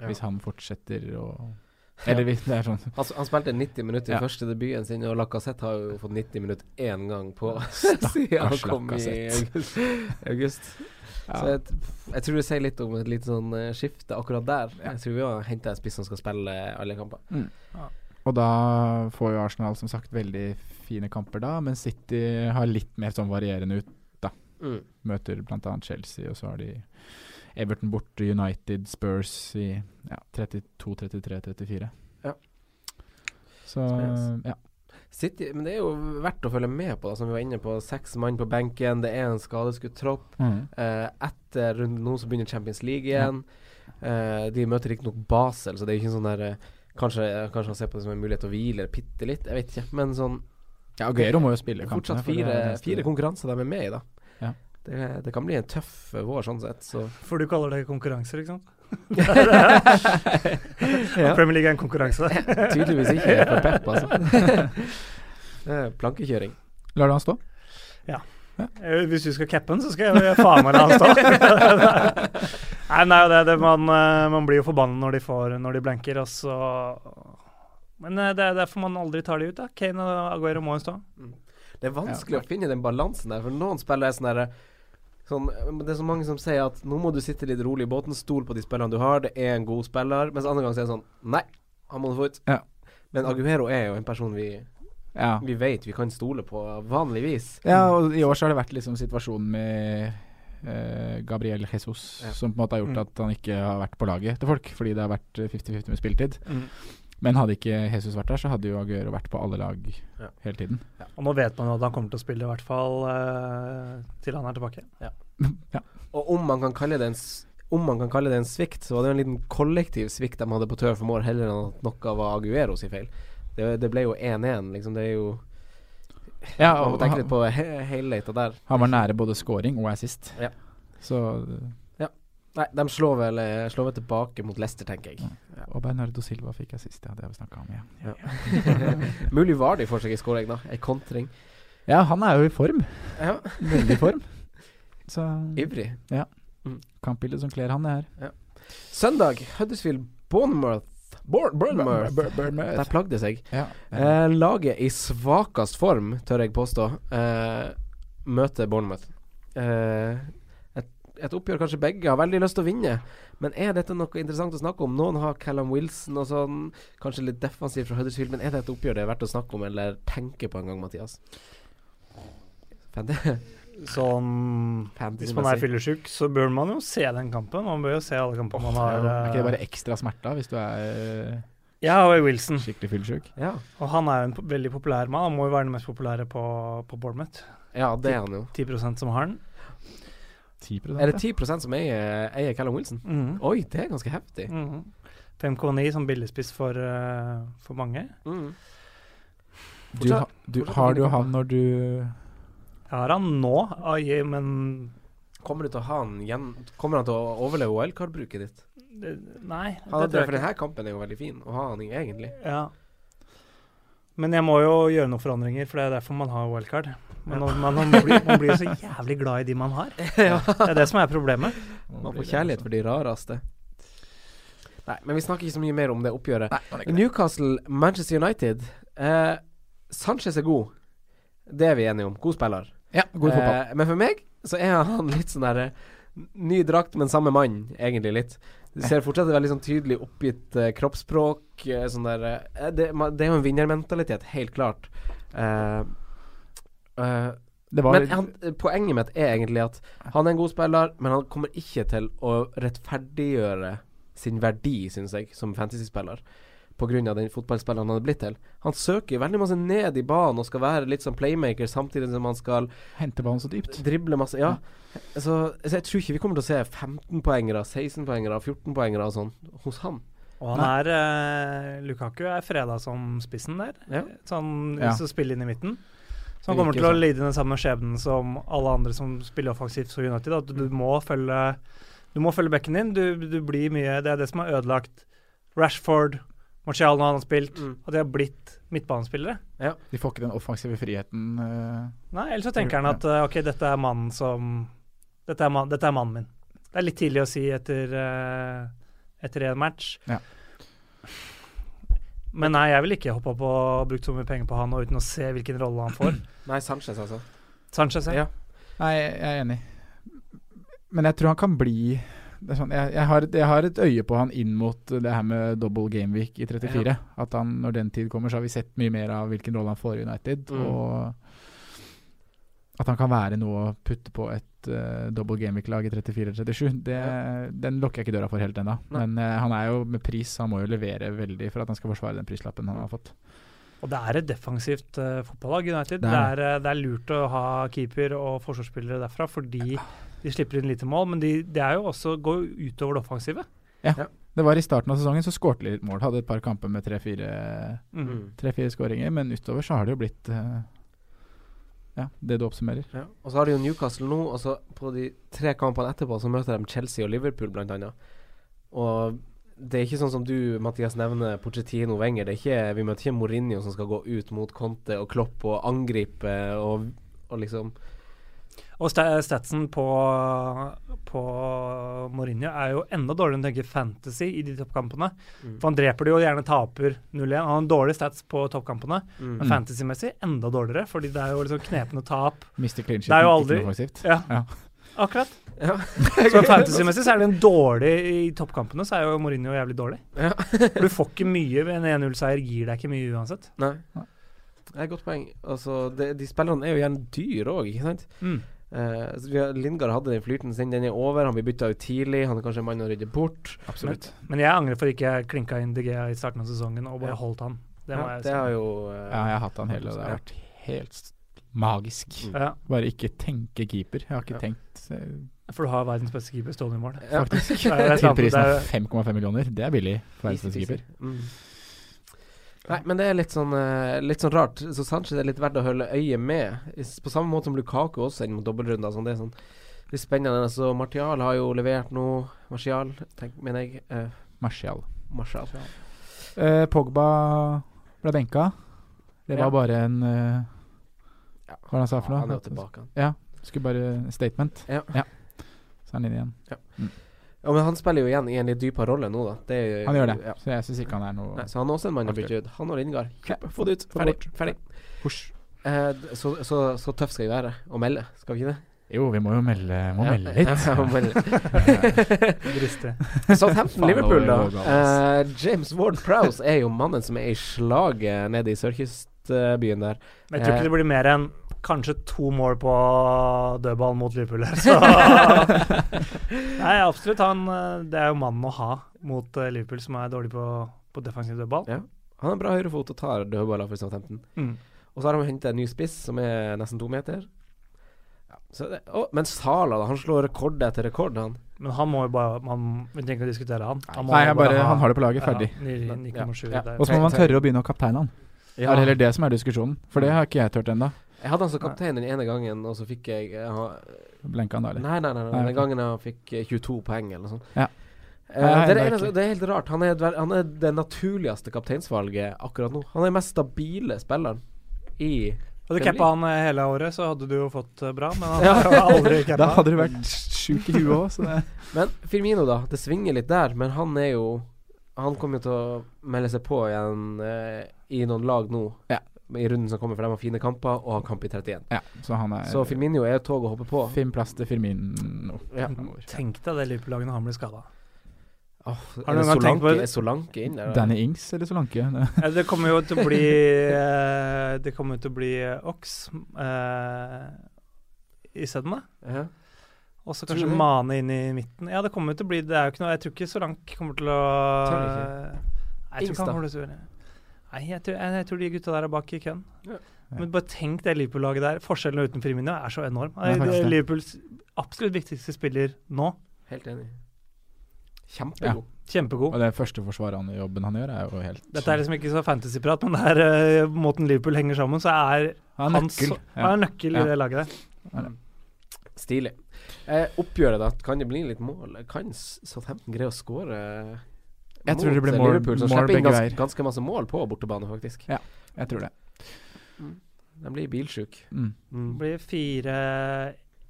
Speaker 3: Ja.
Speaker 4: Hvis han fortsetter å Eller hvis det er sånn
Speaker 3: Han, han spilte 90 minutter i
Speaker 4: Ja.
Speaker 3: første debuten sin, og Lacassette har jo fått 90 minutter én gang på siden han kom i
Speaker 4: Lacazette.
Speaker 3: august. august. Så
Speaker 4: ja.
Speaker 3: jeg, jeg tror det sier litt om et litt sånn eh, skifte akkurat der. Jeg tror vi har henta en spiss som skal spille eh, alle kamper.
Speaker 4: Og da får jo Arsenal som sagt veldig fine kamper da, men City har litt mer sånn varierende ut.
Speaker 3: Mm.
Speaker 4: møter bl.a. Chelsea, og så har de Everton borte, United, Spurs i ja, 32, 33, 34.
Speaker 3: Ja.
Speaker 4: Så
Speaker 3: Spennende.
Speaker 4: ja.
Speaker 3: City, men det er jo verdt å følge med på, da, som vi var inne på. Seks mann på benken, det er en skadeskutt tropp.
Speaker 4: Mm.
Speaker 3: Eh, etter runden nå så begynner Champions League igjen. Eh, de møter riktignok Basel, så det er jo ikke sånn der eh, Kanskje, kanskje han ser på det som en mulighet til å hvile bitte litt, jeg vet ikke. Men sånn
Speaker 4: Ja, Aguero må jo spille kampene.
Speaker 3: fortsatt
Speaker 4: for det er
Speaker 3: fire,
Speaker 4: det neste-
Speaker 3: fire konkurranser de er med i, da.
Speaker 4: Ja.
Speaker 3: Det, det kan bli en tøff eh, vår sånn sett, så
Speaker 2: For du kaller det konkurranser, ikke sant? Det er, eh,
Speaker 3: Ja.
Speaker 2: Premier League er en konkurranse.
Speaker 3: tydeligvis ikke for Pep, altså. Det er Plankekjøring.
Speaker 4: Lar du han stå?
Speaker 2: Eh, Hvis du skal cappe den, så skal jeg faen meg la han stå. Nei, nei, det, er det, man, eh, man blir jo forbanna når de, får, når de blanker, og så Men eh, det er derfor man aldri tar de ut, da. Kane og Aguero må jo stå.
Speaker 3: Det er vanskelig å finne den balansen der, for noen spillere er sånn derre Sånn, men det er så mange som sier at nå må du sitte litt rolig i båten, stol på de spillerne du har, det er en god spiller, mens andre ganger så er det sånn Nei, han må du få ut.
Speaker 4: Ja.
Speaker 3: Men Aguero er jo en person vi,
Speaker 4: Ja.
Speaker 3: vi vet vi kan stole på, vanligvis.
Speaker 4: Ja, og i år så har det vært liksom situasjonen med eh, Gabriel Jesus
Speaker 3: Ja. Mm.
Speaker 4: som på en måte har gjort at han ikke har vært på laget til folk, fordi det har vært eh, 50-50 med spilletid.
Speaker 2: Mm.
Speaker 4: Men hadde ikke Jesus vært der, så hadde jo Aguero vært på alle lag
Speaker 3: Ja.
Speaker 4: hele tiden.
Speaker 2: Og nå vet man jo at han kommer til å spille, i hvert fall eh, til han er tilbake.
Speaker 3: Og om man kan kalle det en s- om man kan kalle det en svikt, så var det jo en liten kollektiv svikt de hadde på Turf Moor, heller enn at noe var Aguero sin feil. Det, det ble jo 1-1, liksom. Det er jo
Speaker 4: Ja,
Speaker 3: Man må
Speaker 4: og
Speaker 3: tenke litt
Speaker 4: han,
Speaker 3: på he helheten der.
Speaker 4: han var nære både scoring og assist.
Speaker 3: Ja.
Speaker 4: Så,
Speaker 3: Nei, de slår vel, eh, slår vel tilbake mot Leicester, tenker jeg.
Speaker 4: og Bernardo Silva fikk assist, ja, det har vi snakka om, ja.
Speaker 3: Mulig var de får seg en skåring, da. En kontring.
Speaker 4: Ja, han er jo i form.
Speaker 3: Ja,
Speaker 4: Veldig i form. Så
Speaker 3: ivrig.
Speaker 4: kampbildet som kler han, det her.
Speaker 3: Søndag, Huddersfield Bournemouth. Bour- Bournemouth. Der plagde jeg seg.
Speaker 4: Ja.
Speaker 3: Eh, laget i svakest form, tør jeg påstå, eh, møter Bournemouth. Eh, et, et oppgjør kanskje begge har veldig lyst til å vinne, men er dette noe interessant å snakke om? Noen har Callum Wilson og sånn, kanskje litt defensivt fra Huddersfield, men er det et oppgjør det er verdt å snakke om eller tenke på en gang, Mathias? Fant-
Speaker 2: Sånn Hvis man er
Speaker 3: Fantasy-messig.
Speaker 2: fyllesyk, så bør man jo se den kampen. Man bør jo se alle kampene man
Speaker 4: Er
Speaker 2: har.
Speaker 4: ikke det
Speaker 2: eh,
Speaker 4: bare ekstra smerter hvis du er eh,
Speaker 2: Jeg har jo Wilson,
Speaker 4: skikkelig fyllesyk?
Speaker 3: Ja.
Speaker 2: og han er jo en po- veldig populær mann. Han må jo være den mest populære på, på Bournemouth.
Speaker 3: ja, det er han jo.
Speaker 2: 10 som har den.
Speaker 4: 10
Speaker 3: Er det 10 som eier, eier Callum Wilson?
Speaker 2: Mhm.
Speaker 3: Oi, det er ganske heftig.
Speaker 2: Mhm. 5,9 som billigspiss for, eh, for mange.
Speaker 3: Mm.
Speaker 4: du, ha, du,
Speaker 3: fortsatt
Speaker 4: Har
Speaker 3: fine
Speaker 4: du
Speaker 3: kamper.
Speaker 4: han når du
Speaker 2: Jeg har han nå, ai, men
Speaker 3: Kommer du til å ha han igjen Kommer han til å overleve OL-kardbruket ditt?
Speaker 2: det, eh, Nei.
Speaker 3: Han,
Speaker 2: det tror jeg
Speaker 3: for
Speaker 2: ikke.
Speaker 3: denne kampen er jo veldig fin å ha han i, egentlig.
Speaker 2: Ja. Men jeg må jo gjøre noen forandringer, for det er derfor man har wildcard. Men man, man, blir, man blir jo så jævlig glad i de man har. Det er det som er problemet.
Speaker 3: Man får kjærlighet for de rareste. Nei, men vi snakker ikke så mye mer om det oppgjøret.
Speaker 4: Nei,
Speaker 3: Newcastle-Manchester United. Eh, Sanchez er god. Det er vi enige om. God spiller.
Speaker 4: Ja, god fotball.
Speaker 3: Eh, men for meg så er han litt sånn derre Ny drakt, men samme mann, egentlig litt. Du ser fortsatt et veldig sånn tydelig oppgitt eh, kroppsspråk. eh, sånn der, eh, det, ma- det er jo en vinnermentalitet, helt klart. Eh, eh,
Speaker 4: Det var
Speaker 3: men han, poenget mitt er egentlig at han er en god spiller, men han kommer ikke til å rettferdiggjøre sin verdi, syns jeg, som fantasyspiller. På grunn av den fotballspilleren han hadde blitt til. Han søker veldig masse ned i banen og skal være litt som playmaker, samtidig som han skal
Speaker 4: hente ballen så dypt.
Speaker 3: Drible masse, ja. Så, så jeg tror ikke vi kommer til å se 15-poengere, 16-poengere, 14-poengere og sånn hos han.
Speaker 2: Og han er eh, Lukaku er freda som spissen der.
Speaker 3: Ja.
Speaker 2: Så han
Speaker 4: Ja.
Speaker 2: så spiller inn i midten. Så
Speaker 4: Det
Speaker 2: han kommer
Speaker 4: virker
Speaker 2: til å
Speaker 4: sånn.
Speaker 2: lide den samme skjebnen som alle andre som spiller offensivt for United. At
Speaker 4: Mm.
Speaker 2: du må følge Du må følge bekken din. Du, du blir mye Det er det som har ødelagt Rashford, Martial når han har spilt,
Speaker 3: Mm.
Speaker 2: at de har blitt midtbanespillere.
Speaker 4: De får ikke den offensive friheten. eh,
Speaker 2: Nei, ellers så tenker han at eh, ok, dette er mannen som Dette er, mann- dette er mannen min. Det er litt tidlig å si etter eh, Etter en match.
Speaker 4: Ja.
Speaker 2: Men nei, jeg ville ikke hoppa på og brukt så mye penger på han og uten å se hvilken rolle han får.
Speaker 3: Nei, Sanchez, altså.
Speaker 2: Sanchez, ja.
Speaker 3: Ja.
Speaker 4: Nei, jeg er enig. Men jeg tror han kan bli det er sånn, jeg, jeg, har, et- jeg har et øye på han inn mot det her med double gameweek i 34. At han, når den tid kommer, så har vi sett mye mer av hvilken rolle han får i United.
Speaker 3: Mm.
Speaker 4: Og at han kan være noe å putte på et eh, double gameweek-lag i 34-37. Det, Den lukker jeg ikke døra for helt ennå.
Speaker 3: Nei.
Speaker 4: Men eh, han er jo med pris, han må jo levere veldig for at han skal forsvare den prislappen han har fått.
Speaker 2: Og det er et defensivt eh, fotballag, United.
Speaker 4: Det
Speaker 2: Det
Speaker 4: er
Speaker 2: er, eh, det er lurt å ha keeper og forsvarsspillere derfra, fordi de slipper inn lite mål. Men de, det er jo også går jo utover det offensive.
Speaker 4: Det var i starten av sesongen så skårte de litt mål. Hadde et par kamper med tre-fire
Speaker 2: Mm.
Speaker 4: tre-fire skåringer, men utover så har det jo blitt eh, ja, det du oppsummerer.
Speaker 3: Ja. Og så har de jo Newcastle nå, og så på de tre kampene etterpå så møter de Chelsea og Liverpool, blant annet. Og det er ikke sånn som du, Mathias, nevner Pochettino Wenger. Det er ikke, vi møter ikke Mourinho som skal gå ut mot Conte og Klopp og angripe og, og liksom
Speaker 2: Og sta- statsen på, på Mourinho er jo enda dårligere enn å tenke fantasy i de toppkampene. For han dreper de og gjerne taper 0-1. Han har en dårlig stats på toppkampene.
Speaker 3: Mm.
Speaker 2: Men
Speaker 4: Mm.
Speaker 2: fantasymessig enda dårligere, fordi det er jo liksom knepne tap.
Speaker 4: Mister clean sheet,
Speaker 2: Det er jo
Speaker 4: ikke
Speaker 2: aldri-
Speaker 4: noe offensivt.
Speaker 2: Ja,
Speaker 4: Ja.
Speaker 2: akkurat. Så fantasymessig så er det en dårlig i toppkampene, så er jo Mourinho jævlig dårlig.
Speaker 3: Ja.
Speaker 2: For du får ikke mye ved en 1-0-seier, gir deg ikke mye uansett.
Speaker 3: Nei. Det er et godt poeng. Altså, det, de spillerne er jo gjerne dyr òg, ikke sant?
Speaker 2: Mm.
Speaker 3: Eh, så vi har- Lingard hadde den flyten sin, den er over. Han blir bytta ut tidlig. Han er kanskje en mann å rydde bort.
Speaker 4: Absolutt.
Speaker 2: Men jeg angrer for ikke jeg klinka inn DG i starten av sesongen og
Speaker 3: Ja.
Speaker 2: bare holdt han. Det må
Speaker 3: ja,
Speaker 2: jeg
Speaker 3: det
Speaker 2: si.
Speaker 3: har jo eh,
Speaker 4: Ja, jeg har hatt han hele, og det har vært helt s- magisk.
Speaker 3: Mm.
Speaker 2: Ja,
Speaker 4: Bare ikke tenke keeper. Jeg har ikke
Speaker 3: Ja.
Speaker 4: tenkt eh,
Speaker 2: for du har verdens beste keeper stående i mål.
Speaker 3: Ja.
Speaker 4: faktisk.
Speaker 2: Det er et eller
Speaker 4: Til
Speaker 2: annet,
Speaker 4: prisen
Speaker 2: det
Speaker 4: av
Speaker 2: er-
Speaker 4: 5,5 millioner. Det er billig for
Speaker 3: Easy
Speaker 4: verdens beste keeper.
Speaker 3: peasy. Mm. Nei, men det er litt sånn, eh, litt sånn rart. Så Sanchez er litt verdt å holde øye med. Is- På samme måte som Lukaku også inn mot dobbeltrunder. Sånn, det er sånn litt spennende. Så Martial har jo levert nå. Martial, tenk, mener jeg. eh,
Speaker 4: Martial.
Speaker 3: Martial.
Speaker 4: Eh, Pogba ble benka. Det var
Speaker 3: Ja.
Speaker 4: bare en eh, Hva var det han sa for noe?
Speaker 3: Han er jo tilbake. han.
Speaker 4: Skulle bare statement.
Speaker 3: Ja.
Speaker 4: Så er han inne igjen.
Speaker 3: Ja, men han spiller jo igjen i en litt dypere rolle nå, da. Det er, jo-
Speaker 4: Han gjør det,
Speaker 3: Eh, Ja.
Speaker 4: så jeg syns ikke han er noe
Speaker 3: Nei, så han er også en mann å
Speaker 4: Aktuelt.
Speaker 3: bytte ut. Han og Lindgard.
Speaker 4: Ja.
Speaker 3: Få det ut.
Speaker 4: Få det
Speaker 3: Ferdig. Ferdig. Eh, d- så, så, så tøff skal vi være og melde, skal vi ikke det?
Speaker 4: Jo, vi må jo melde, må
Speaker 3: Ja.
Speaker 4: melde litt.
Speaker 3: Ja, må melde.
Speaker 2: Dristig.
Speaker 3: Southampton
Speaker 4: Faen,
Speaker 3: Liverpool, da.
Speaker 4: det var galt,
Speaker 3: Eh, James Ward Prowse er jo mannen som er i slaget nede i sørkystbyen der.
Speaker 2: Men jeg tror
Speaker 3: Eh.
Speaker 2: ikke det blir mer enn kanskje to mål på dødball mot Liverpool her, så Nei, absolutt. Han, eh, det er jo mannen å ha mot eh, Liverpool, som er dårlig på, på defensiv dødball.
Speaker 3: Ja. Han har bra høyrefot og tar dødballer for Southampton.
Speaker 2: Mm.
Speaker 3: Og så har de hentet en ny spiss som er nesten to meter. Ja, så det, å, men Sala, da. Han slår rekord etter rekord, han.
Speaker 2: Men han må jo bare man, Vi trenger ikke å diskutere han. Han, må
Speaker 4: Nei, jeg bare,
Speaker 2: ha-
Speaker 4: han har det på laget. Ferdig.
Speaker 2: Ja, ni- ni- ni-
Speaker 3: Ja.
Speaker 2: ni- sju,
Speaker 3: Ja.
Speaker 2: det er-
Speaker 4: Og så må man tørre å begynne å kapteine han. Det
Speaker 3: Ja.
Speaker 4: er heller det som er diskusjonen, for det har ikke jeg turt ennå.
Speaker 3: Jeg hadde han som kaptein den ene gangen, og så fikk jeg eh, ha-
Speaker 4: Blenka han da, eller?
Speaker 3: Nei, nei, nei, nei,
Speaker 4: Nei,
Speaker 3: den
Speaker 4: ok.
Speaker 3: gangen han fikk eh, 22 poeng eller noe sånt.
Speaker 4: Ja.
Speaker 3: Eh,
Speaker 4: Nei,
Speaker 3: det, er det,
Speaker 4: det er
Speaker 3: eneste,
Speaker 4: ikke-
Speaker 3: det er helt rart. Han er, dver- han er det naturligste kapteinsvalget akkurat nå. Han er den mest stabile spilleren i
Speaker 2: Hadde du
Speaker 3: Premier
Speaker 2: cappa han eh, hele året, så hadde du jo fått eh, bra, men han har jo aldri
Speaker 4: Da
Speaker 2: cappa.
Speaker 4: hadde du vært sjuk i huet òg, så det
Speaker 3: Men Firmino, da. Det svinger litt der, men han er jo Han kommer jo til å melde seg på igjen eh, i noen lag nå.
Speaker 4: Ja.
Speaker 3: I runden som kommer, for de har fine kamper og har kamp i 31.
Speaker 4: Ja, så han er
Speaker 3: Så Firmino er et tog å hoppe på.
Speaker 4: Finn plass til Firmino.
Speaker 3: Ja.
Speaker 4: fremover.
Speaker 2: Tenk deg det Liverpool-laget når han blir skada.
Speaker 3: Åh,
Speaker 2: Har
Speaker 3: er,
Speaker 2: du
Speaker 3: det
Speaker 2: noen gang tenkt på
Speaker 3: Solanke,
Speaker 2: det?
Speaker 3: er Solanke inn der? da?
Speaker 4: Danny Ings eller Solanke. Det-
Speaker 2: Ja, Eh, Det kommer jo til å bli eh, Det kommer jo til å bli eh, Ox eh, isteden, da.
Speaker 3: Ja.
Speaker 2: Og så
Speaker 3: Tror
Speaker 2: kanskje
Speaker 3: du det?
Speaker 2: Mane inn i midten. Ja, det kommer jo til å bli Det er jo ikke noe Jeg tror ikke Solanke kommer til å
Speaker 3: Tror
Speaker 2: Nei, jeg tror
Speaker 3: Ings,
Speaker 2: ikke
Speaker 3: da?
Speaker 2: han kommer til å Nei, jeg tror, jeg, jeg tror de gutta der er bak i køen.
Speaker 3: Ja.
Speaker 2: Men bare tenk det Liverpool-laget der. Forskjellen uten Firmino er så enorm.
Speaker 4: Ja, faktisk
Speaker 2: det
Speaker 4: det.
Speaker 2: er Liverpools absolutt viktigste spiller nå.
Speaker 3: Helt enig. Kjempegod.
Speaker 2: Kjempegod.
Speaker 4: Og det første forsvarerjobben han gjør, er jo helt
Speaker 2: Dette er liksom ikke så fantasyprat, men det er eh, måten Liverpool henger sammen, så er
Speaker 4: Han er
Speaker 2: han så-
Speaker 4: nøkkel.
Speaker 2: han
Speaker 4: Ja.
Speaker 2: er nøkkel
Speaker 4: Ja.
Speaker 2: i det laget der.
Speaker 3: Stilig. Eh, oppgjøret, da. Kan det bli litt mål? Kan S- Southampton greie å skåre
Speaker 4: Jeg tror det blir mål-
Speaker 3: eh, Liverpool, som
Speaker 4: mål
Speaker 3: slipper inn
Speaker 4: begge
Speaker 3: ganske,
Speaker 4: veier.
Speaker 3: ganske masse mål på bortebane, faktisk.
Speaker 4: Jeg tror det.
Speaker 3: De blir bilsjuke.
Speaker 4: Mm.
Speaker 2: Det blir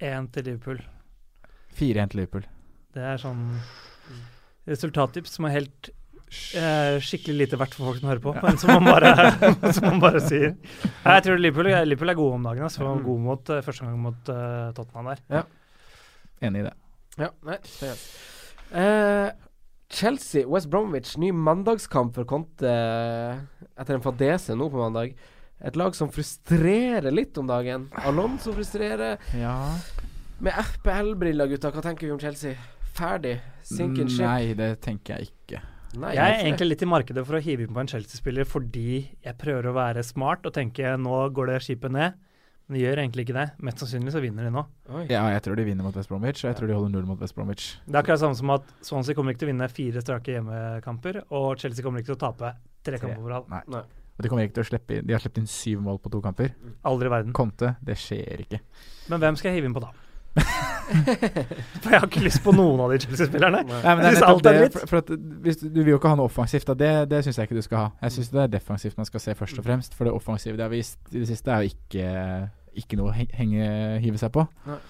Speaker 2: 4-1 til Liverpool.
Speaker 4: 4-1 til Liverpool.
Speaker 2: Det er sånn resultattips som er helt eh, skikkelig lite verdt for folk som hører på, men som man bare, som man bare sier. Nei, Jeg tror Liverpool, Liverpool er gode om dagen. Altså.
Speaker 3: Mm.
Speaker 2: God mot eh, første gang mot eh, Tottenham der.
Speaker 4: Enig i det.
Speaker 3: Ja, nei, det er eh, Chelsea, West Bromwich, ny mandagskamp for Conte eh, etter en fadese nå på mandag. Et lag som frustrerer litt om dagen. Alonso frustrerer.
Speaker 4: Ja
Speaker 3: Med FPL-briller, gutta, hva tenker vi om Chelsea? Ferdig. Sink and ship.
Speaker 4: Nei, det Mm, tenker jeg ikke.
Speaker 3: Nei,
Speaker 2: Jeg er
Speaker 3: hvorfor det?
Speaker 2: egentlig litt i markedet for å hive inn på en Chelsea-spiller fordi jeg prøver å være smart og tenke nå går det skipet ned. Men det gjør egentlig ikke det. Mest sannsynlig så vinner de nå.
Speaker 4: Ja, jeg tror de vinner mot West Bromwich, og jeg tror de holder null mot West Bromwich.
Speaker 2: Det er akkurat samme som at Swansea kommer ikke til å vinne fire strake hjemmekamper, og Chelsea kommer ikke til å tape tre kamper på rad.
Speaker 4: Nei.
Speaker 3: Nei.
Speaker 4: Og de kommer ikke til å slippe inn De har sluppet inn syv mål på to kamper.
Speaker 2: Aldri i verden.
Speaker 4: Conte, det skjer ikke.
Speaker 2: Men hvem skal jeg hive inn på da? For jeg har ikke lyst på noen av de Chelsea-spillerne.
Speaker 4: Nei, men det
Speaker 2: Jeg
Speaker 4: er
Speaker 2: synes alt
Speaker 4: nettopp
Speaker 2: er
Speaker 4: det,
Speaker 2: dritt.
Speaker 4: for, for at, hvis, du vil jo ikke ha noe offensivt, da. Det, det syns jeg ikke du skal ha. Jeg
Speaker 2: Mm.
Speaker 4: syns det er defensivt man skal se først og fremst. For det offensive det har vist i det siste, er jo ikke, ikke noe å heng- henge, hive seg på.
Speaker 3: Nei.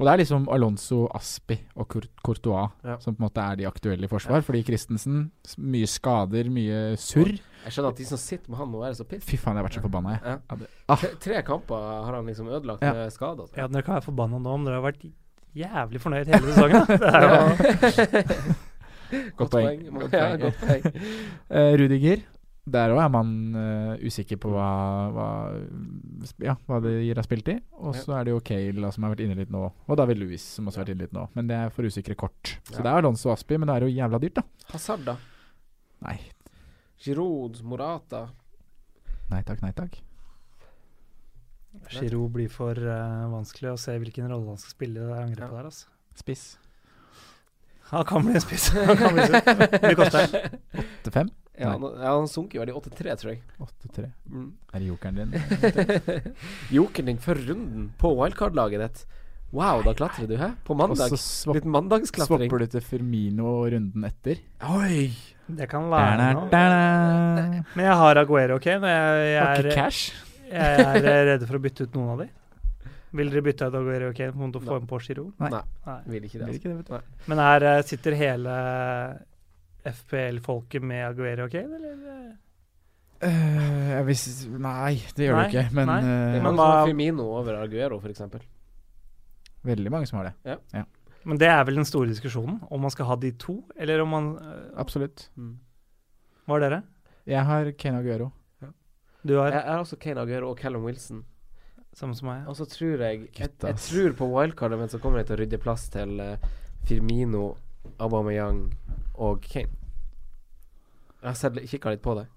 Speaker 4: Og det er liksom Alonso, Aspi og Cour- Courtois
Speaker 3: Ja.
Speaker 4: som på en måte er de aktuelle i forsvar. Fordi Christensen, s- mye skader, mye surr.
Speaker 3: Jeg skjønner at de som sitter med han nå, er så piss.
Speaker 4: Fy faen, jeg har vært så forbanna, jeg.
Speaker 3: Ja.
Speaker 4: Ja, det-
Speaker 3: Tre- Tre kamper har han liksom ødelagt
Speaker 4: Ja.
Speaker 3: med skader. altså.
Speaker 2: Ja, dere kan være forbanna nå, men dere har vært jævlig fornøyd hele sesongen. da. Det er jo
Speaker 4: Godt poeng. Godt
Speaker 3: Ja,
Speaker 4: poeng.
Speaker 3: godt poeng.
Speaker 4: Eh, Rudiger, der òg er man eh, usikker på hva, hva, sp- ja, hva det gir av spilletid. Og så er det jo Cale da, som har vært inne litt nå, og David Louis som også har vært inne litt nå. Men det er for usikre kort. Så
Speaker 3: Ja.
Speaker 4: det er Alonso og Aspi, men det er jo jævla dyrt, da.
Speaker 3: Hazard, da.
Speaker 4: Nei,
Speaker 3: Giroud, Morata.
Speaker 4: nei takk, nei takk.
Speaker 2: Giroud blir for eh, vanskelig å se hvilken rolle han skal spille i det angrepet der. Altså.
Speaker 4: Spiss.
Speaker 2: Han kan bli en spiss. Han kan bli en spiss. Mye koster.
Speaker 4: 8-5?
Speaker 3: Ja,
Speaker 4: Nei.
Speaker 3: han, ja, han sunker jo her i 83, tror jeg.
Speaker 4: 8-3.
Speaker 3: Mm.
Speaker 4: Er det jokeren din?
Speaker 3: Jokeren din for runden på wildcard-laget ditt. Wow, da klatrer du, hæ? På
Speaker 4: Og
Speaker 3: mandag.
Speaker 4: så swap,
Speaker 3: Litt mandagsklatring.
Speaker 4: swapper du til Firmino runden etter.
Speaker 3: Oi!
Speaker 2: Det kan være
Speaker 4: Da-da,
Speaker 2: noe.
Speaker 4: da-da.
Speaker 2: Men jeg har Aguero, OK? Men jeg,
Speaker 4: Har
Speaker 2: jeg,
Speaker 4: ikke
Speaker 2: er,
Speaker 4: cash.
Speaker 2: jeg er eh, redd for å bytte ut noen av de. Vil dere bytte ut Aguero, OK? Mot å få en på Giroud?
Speaker 4: Nei.
Speaker 3: Nei.
Speaker 2: Nei.
Speaker 3: Vil ikke det.
Speaker 4: Blir
Speaker 3: Altså.
Speaker 4: ikke det, vet du.
Speaker 2: Men her eh, sitter hele FPL-folket med Aguero, OK? Eller?
Speaker 4: Eh, jeg vis, nei, det gjør
Speaker 2: Nei,
Speaker 4: du ikke. Men
Speaker 2: nei.
Speaker 4: eh,
Speaker 3: Det er mange
Speaker 2: Men
Speaker 3: som
Speaker 2: hva-
Speaker 3: har Firmino over Arguero, f.eks.
Speaker 4: veldig mange som har det.
Speaker 2: Men det er vel den store diskusjonen, om man skal ha de to, eller om man eh,
Speaker 4: Absolutt.
Speaker 2: Hva er dere?
Speaker 4: Jeg har Ken Aguero.
Speaker 2: Du
Speaker 3: Jeg
Speaker 2: har
Speaker 3: jeg har også Kane Aguero og Callum Wilson.
Speaker 2: samme som meg.
Speaker 3: Og så tror jeg Jeg,
Speaker 4: Gutta,
Speaker 3: jeg
Speaker 4: ass.
Speaker 3: tror på wildcardet, men så kommer jeg til å rydde plass til eh, Firmino, Aubameyang og Kane. Jeg har sett- kikka litt på det.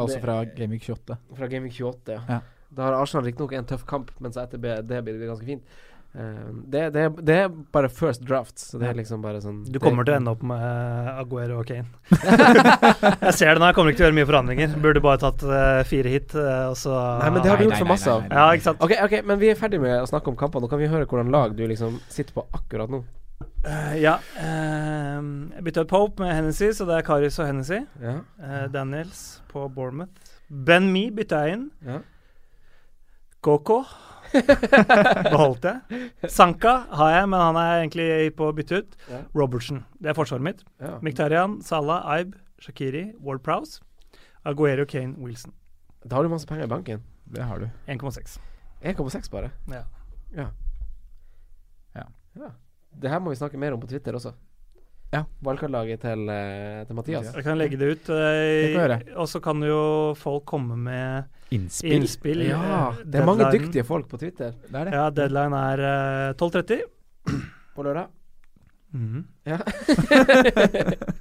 Speaker 4: Altså
Speaker 3: Det-
Speaker 4: fra Gaming 28.
Speaker 3: Fra Gaming 28, ja.
Speaker 4: Ja.
Speaker 3: Da har Arsenal riktignok en tøff kamp, men så etter B- det blir det ganske fint. Eh, det, det, det er bare first draft, så det er liksom bare sånn
Speaker 2: Du kommer til å ende opp med eh, Aguero og Kane. jeg ser det nå, jeg kommer ikke til å gjøre mye forandringer. Burde bare tatt eh, fire hit, eh, og så
Speaker 3: Nei, men det har du
Speaker 4: Nei,
Speaker 3: gjort
Speaker 4: nei,
Speaker 3: for
Speaker 4: nei,
Speaker 3: masse av.
Speaker 4: nei, nei.
Speaker 2: Ja, ikke sant.
Speaker 3: Ok, ok, men vi er ferdig med å snakke om kampene. Nå kan vi høre hvordan lag du liksom sitter på akkurat nå.
Speaker 2: Eh, ja. ehm, jeg bytta ut Pope med Hennessy, så det er Karius og Hennessy.
Speaker 3: Ja,
Speaker 2: Eh, Daniels på Bournemouth. Ben Me bytta jeg inn.
Speaker 3: ja.
Speaker 2: Koko beholdt jeg. Sanka har jeg, men han er egentlig på å bytte ut.
Speaker 3: Ja.
Speaker 2: Robertson. Det er forsvaret mitt.
Speaker 3: ja.
Speaker 2: Miktarian, Salah, Aib, Shakiri, Ward Prowse. Aguero, Kane, Wilson.
Speaker 3: Da har du masse penger i banken.
Speaker 4: Det har du.
Speaker 2: 1,6.
Speaker 3: 1,6 bare.
Speaker 2: Ja.
Speaker 3: Det her må vi snakke mer om på Twitter også.
Speaker 4: Ja.
Speaker 3: Valgkartlaget til, eh, til Mathias.
Speaker 4: Mathias.
Speaker 2: Jeg kan legge det ut. eh,
Speaker 4: Det kan vi
Speaker 2: og så kan jo folk komme med
Speaker 4: Innspill.
Speaker 2: innspill.
Speaker 3: Ja,
Speaker 2: eh,
Speaker 3: det er mange
Speaker 2: deadline.
Speaker 3: dyktige folk på Twitter
Speaker 4: Det er det.
Speaker 2: Ja, deadline er eh, 12.30.
Speaker 3: på lørdag.
Speaker 2: Mhm.
Speaker 3: Ja.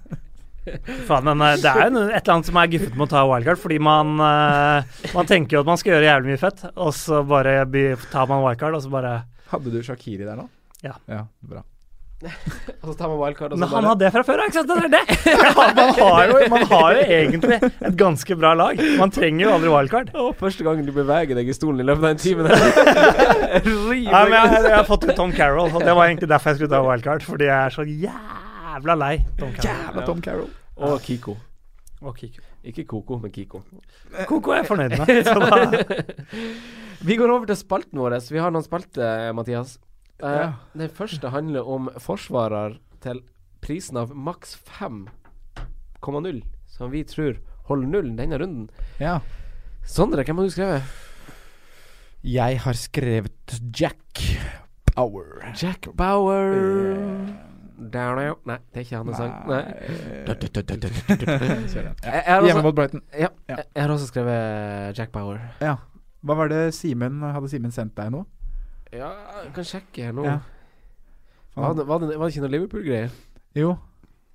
Speaker 2: Faen, men eh, det er jo noe- et eller annet som er guffet med å ta wildcard, fordi man, eh, man tenker jo at man skal gjøre jævlig mye fett, og så bare by, tar man wildcard, og så bare
Speaker 4: Hadde du Shakiri der nå?
Speaker 2: Ja.
Speaker 4: ja bra.
Speaker 3: Og så tar man wildcard, og så
Speaker 2: Men han
Speaker 3: bare
Speaker 2: hadde det fra før, ja, ikke sant? Det er det! Man har, jo, man har jo egentlig et ganske bra lag. Man trenger jo aldri wildcard.
Speaker 3: Å, første gangen du beveger deg i stolen i løpet av en time der. Riv
Speaker 2: Ja, men
Speaker 3: deg.
Speaker 2: jeg, jeg har fått ut Tom Carroll, og det var egentlig derfor jeg skulle ta wildcard. Fordi jeg er så jævla lei Tom Carroll.
Speaker 4: Tom Carroll.
Speaker 3: Og Kiko.
Speaker 2: Og Kiko.
Speaker 3: Ikke Koko, men Kiko.
Speaker 2: Koko er jeg fornøyd med. Så da,
Speaker 3: Vi går over til spalten vår. Vi har noen spalter, Mathias. Eh,
Speaker 4: Ja.
Speaker 3: Den første handler om forsvarer til prisen av maks 5,0, som vi tror holder nullen denne runden.
Speaker 4: Ja.
Speaker 3: Sondre, hvem har du skrevet?
Speaker 4: Jeg har skrevet Jack Power.
Speaker 3: Jack Bauer. Eh, Down, down. Nei, det er ikke hans sang. Nei. Jeg, jeg, har
Speaker 4: Hjemme
Speaker 3: også,
Speaker 4: mot Brighton.
Speaker 3: ja,
Speaker 4: Ja.
Speaker 3: jeg, jeg har også skrevet eh, Jack Bauer.
Speaker 4: Ja. Hva var det Simen Hadde Simen sendt deg nå?
Speaker 3: Ja, jeg kan sjekke her nå.
Speaker 4: Ja.
Speaker 3: Var, det, var, det, var det ikke noe Liverpool-greier?
Speaker 4: Jo.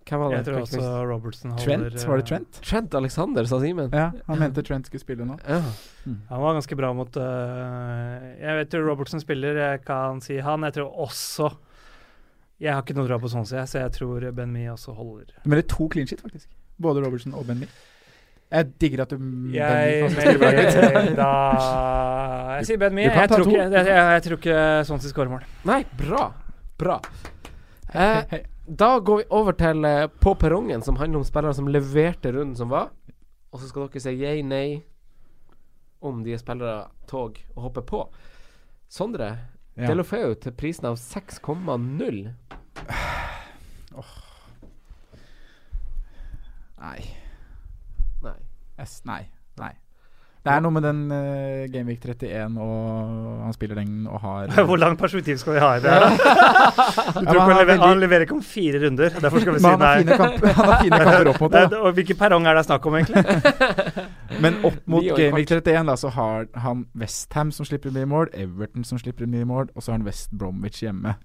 Speaker 3: Hvem var det?
Speaker 2: Jeg tror også Robertson holder
Speaker 4: Trent, var
Speaker 2: eh,
Speaker 4: det Trent?
Speaker 3: Trent Alexander, sa Simen.
Speaker 4: Ja, han mente Trent skulle spille nå.
Speaker 3: Ja.
Speaker 2: eh, Han var ganske bra mot eh, Jeg vet jo Robertson spiller, jeg kan si han. Jeg tror også Jeg har ikke noe dra på sånn, så jeg, så jeg tror Ben Mi også holder.
Speaker 4: Men det er to clean shit, faktisk. Både Robertson og Ben Mee. Jeg digger at du Mm, Ben Mee
Speaker 2: Jeg
Speaker 4: faktisk skriver det ut.
Speaker 2: melder da Jeg sier Ben Mi.
Speaker 4: Du kan
Speaker 2: Jeg,
Speaker 4: ta
Speaker 2: tror
Speaker 4: to.
Speaker 2: ikke- jeg, jeg, jeg tror ikke sånn til skårer mål.
Speaker 3: Nei, bra. Bra.
Speaker 4: Hei,
Speaker 3: Eh,
Speaker 4: hei.
Speaker 3: da går vi over til eh, På perrongen, som handler om spillere som leverte runden som var. Og så skal dere si yay, nei om de er spillere tog å hoppe på. Sondre,
Speaker 4: Ja.
Speaker 3: Delofeu til prisen av 6,0.
Speaker 4: Nei.
Speaker 3: Nei.
Speaker 4: S, nei. Nei. Det er noe med den eh, Gameweek 31 og han spiller den og har
Speaker 2: Hvor langt perspektiv skal vi ha i det? her, da? Du tror
Speaker 4: men
Speaker 2: ikke han,
Speaker 4: han har
Speaker 2: lever,
Speaker 4: veldig-
Speaker 2: han leverer ikke om fire runder, derfor skal vi
Speaker 4: Men
Speaker 2: si
Speaker 4: han
Speaker 2: nei.
Speaker 4: har fine kamper, han har fine kamper opp mot det.
Speaker 2: Nei, og hvilken perrong er det snakk om, egentlig?
Speaker 4: da. Men opp mot
Speaker 3: Ni år
Speaker 4: Gameweek 31 da, så har han Westham som slipper mye mål, Everton som slipper mye mål, og så har han West Bromwich hjemme.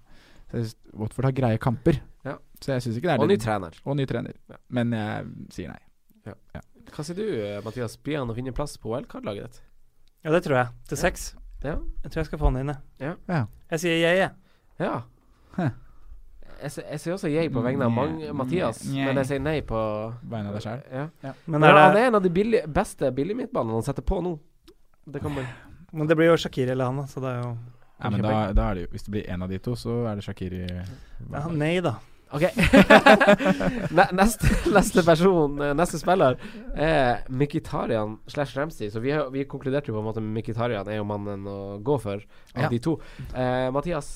Speaker 4: Så jeg synes, Watford har greie kamper.
Speaker 3: Ja.
Speaker 4: Så jeg syns ikke det er
Speaker 3: Og ny
Speaker 4: det-
Speaker 3: trener.
Speaker 4: og ny trener.
Speaker 3: Ja.
Speaker 4: Men jeg sier nei.
Speaker 3: Hva sier du, eh, Mathias? Blir han å finne plass på OL-kartlaget ditt?
Speaker 2: Ja, det tror jeg. Til seks.
Speaker 3: Ja.
Speaker 2: Jeg tror jeg skal få han inn, jeg.
Speaker 4: Ja.
Speaker 2: Jeg sier jeg, jeg.
Speaker 3: Ja.
Speaker 4: Hæ.
Speaker 3: Jeg, sier- jeg sier også yay på vegne av mange,
Speaker 4: Nye-
Speaker 3: Mathias,
Speaker 4: nye-
Speaker 3: men jeg sier nei på
Speaker 4: Vegne av deg sjæl.
Speaker 3: Ja.
Speaker 2: Men,
Speaker 3: Men
Speaker 2: er
Speaker 3: han
Speaker 2: det,
Speaker 3: er en av de billig, beste billig midtbanene han setter på nå. Det kan man
Speaker 2: men det blir jo Shakiri eller han, da, så det er jo
Speaker 4: Ja, men da, da er det jo Hvis det blir én av de to, så er det Shakiri.
Speaker 2: ja, Nei, da.
Speaker 3: OK. Ne- neste, neste person, eh, neste spiller, er Mkhitarian slash Ramsey. Så vi, har- vi konkluderte jo på en måte med Mkhitarian er jo mannen å gå for av
Speaker 4: Ja.
Speaker 3: de to. Eh, Mathias,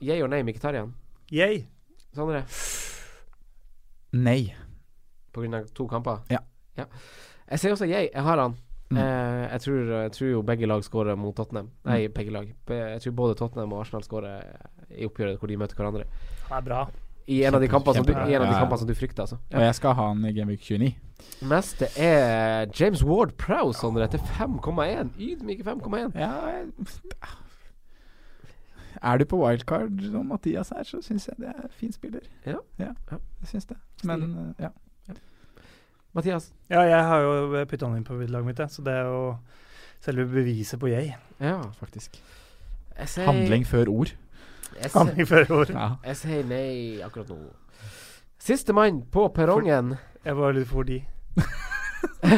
Speaker 3: yay og nei Mkhitarian?
Speaker 2: Yay.
Speaker 3: Sondre?
Speaker 4: Nei.
Speaker 3: På grunn av to kamper?
Speaker 4: Ja.
Speaker 3: Jeg sier også jeg. Jeg har han.
Speaker 4: Mm.
Speaker 3: Eh, jeg, tror, jeg tror jo begge lag skårer mot Tottenham. Nei,
Speaker 4: Mm.
Speaker 3: begge lag. Be- Jeg tror både Tottenham og Arsenal skårer i oppgjøret hvor de møter hverandre.
Speaker 2: Han er bra.
Speaker 3: I en av de kampene som, du-
Speaker 4: kjempe-
Speaker 3: i en av de
Speaker 4: ja.
Speaker 3: kampene som du frykter, altså.
Speaker 4: Og jeg skal ha han i Gameweek 29.
Speaker 3: Neste er James Ward Prowse, Sondre, til 5,1. Ydmyke 5,1.
Speaker 4: Ja jeg- Er du på wildcard som Mathias her, så syns jeg det er fin spiller.
Speaker 3: Ja. Ja.
Speaker 4: jeg syns det. Men eh, ja.
Speaker 3: Mathias?
Speaker 2: Ja, jeg har jo putta han inn på laget mitt, jeg, så det er jo selve beviset på jeg.
Speaker 3: Ja.
Speaker 4: Faktisk.
Speaker 3: Jeg sier
Speaker 4: Handling før ord.
Speaker 3: Jeg sier,
Speaker 2: Handling før ord.
Speaker 4: Ja.
Speaker 3: jeg sier nei akkurat nå. Sistemann på perrongen.
Speaker 2: Jeg bare lurer på hvor de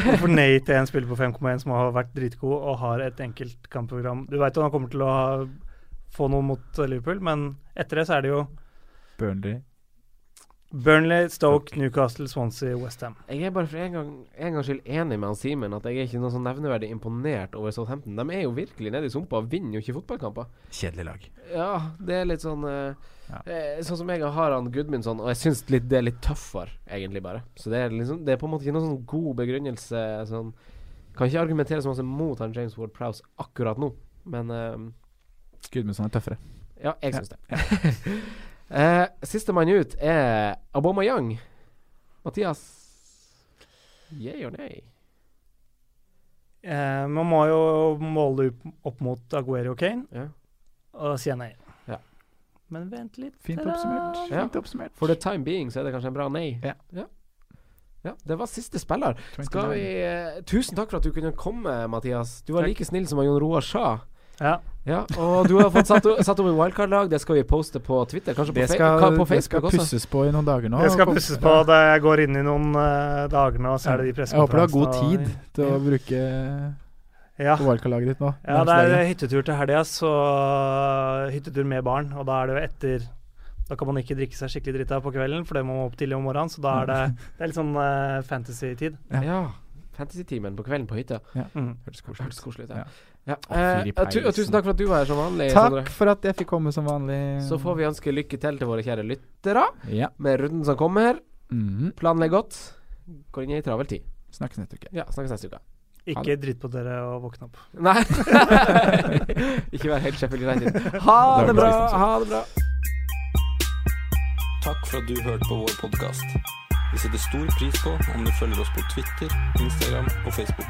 Speaker 2: Hvorfor nei til en spiller på 5,1 som har vært dritgod og har et enkelt kampprogram? Du veit han kommer til å ha, få noe mot Liverpool, men etter det så er det jo
Speaker 4: Burnley.
Speaker 2: Burnley, Stoke, Newcastle, Swansea, Westham.
Speaker 3: Jeg er bare for en gang en gangs skyld enig med han Simen at jeg er ikke noe sånn nevneverdig imponert over Southampton. De er jo virkelig nede i sumpa og vinner jo ikke fotballkamper.
Speaker 5: Kjedelig lag.
Speaker 3: Ja, det er litt sånn eh,
Speaker 4: Ja.
Speaker 3: eh, Sånn som jeg har han Gudmundsson, og jeg syns litt, det er litt tøffere, egentlig bare. Så det er liksom Det er på en måte ikke noen sånn god begrunnelse sånn Kan ikke argumentere så masse mot han James Ward Prowse akkurat nå, men eh,
Speaker 4: Gudmundsson er tøffere.
Speaker 3: ja, jeg syns det. Eh, Sistemann ut er Aubameyang. Mathias, yeah or nay?
Speaker 2: Eh, man må jo måle opp- opp mot Aguero og Kane,
Speaker 3: Ja.
Speaker 2: og da sier jeg nei.
Speaker 3: Ja.
Speaker 2: Men vent litt
Speaker 4: Fint
Speaker 2: da.
Speaker 4: oppsummert.
Speaker 3: Ja.
Speaker 4: Fint oppsummert.
Speaker 3: For the time being så er det kanskje en bra nei.
Speaker 4: Ja.
Speaker 3: ja. Ja, Det var siste spiller. Skal vi, eh, tusen takk for at du kunne komme, Mathias. Du var
Speaker 2: Takk.
Speaker 3: like snill som Jon Roar Sjah.
Speaker 2: Ja.
Speaker 3: Ja, og du har fått satt, o- satt opp et wildcard-lag. Det skal vi poste på Twitter, kanskje på,
Speaker 4: Det
Speaker 3: fe-
Speaker 4: skal,
Speaker 3: ka- på
Speaker 4: det skal
Speaker 3: Facebook også.
Speaker 4: pusses på i noen dager nå.
Speaker 2: Det skal
Speaker 4: Kom-
Speaker 2: pusses på. Det jeg går inn i noen eh, dager nå, så er det de
Speaker 4: Jeg håper du har god
Speaker 2: pressekonferansene
Speaker 4: tid
Speaker 2: og-
Speaker 4: til å bruke
Speaker 2: Ja.
Speaker 4: wildcard-laget ditt nå.
Speaker 2: Ja, det er hyttetur til helga, så hyttetur med barn. Og da er det jo etter Da kan man ikke drikke seg skikkelig drita på kvelden, for det må man opp tidlig om morgenen. Så da er det, det er litt sånn eh, fantasy-tid.
Speaker 4: Ja.
Speaker 3: Ja. Fantasy-timen på kvelden på hytta.
Speaker 2: Mm.
Speaker 4: Hørtes
Speaker 3: Det
Speaker 4: koselig ut.
Speaker 3: Hørtes koselig ut. Ja.
Speaker 4: Ja.
Speaker 3: Ja.
Speaker 4: Å, fy
Speaker 3: Eh, tu og
Speaker 4: peisen.
Speaker 3: tusen takk for at du var her som vanlig,
Speaker 4: Takk
Speaker 3: Sondre.
Speaker 4: for at jeg fikk komme som vanlig.
Speaker 3: Så får vi ønske lykke til til våre kjære lyttere
Speaker 4: Ja.
Speaker 3: med runden som kommer.
Speaker 4: Mhm.
Speaker 3: Planlegg godt. Går inn i ei travel tid.
Speaker 4: Snakkes neste uke.
Speaker 3: Ja, snakkes neste uke.
Speaker 4: Ha
Speaker 2: Ikke drit på dere og våkne opp.
Speaker 3: Nei. Ikke vær helt Sheffield United. Ha det bra! Ha det bra.
Speaker 6: Takk for at du hørte på vår podkast. Vi setter stor pris på om du følger oss på Twitter, Instagram og Facebook.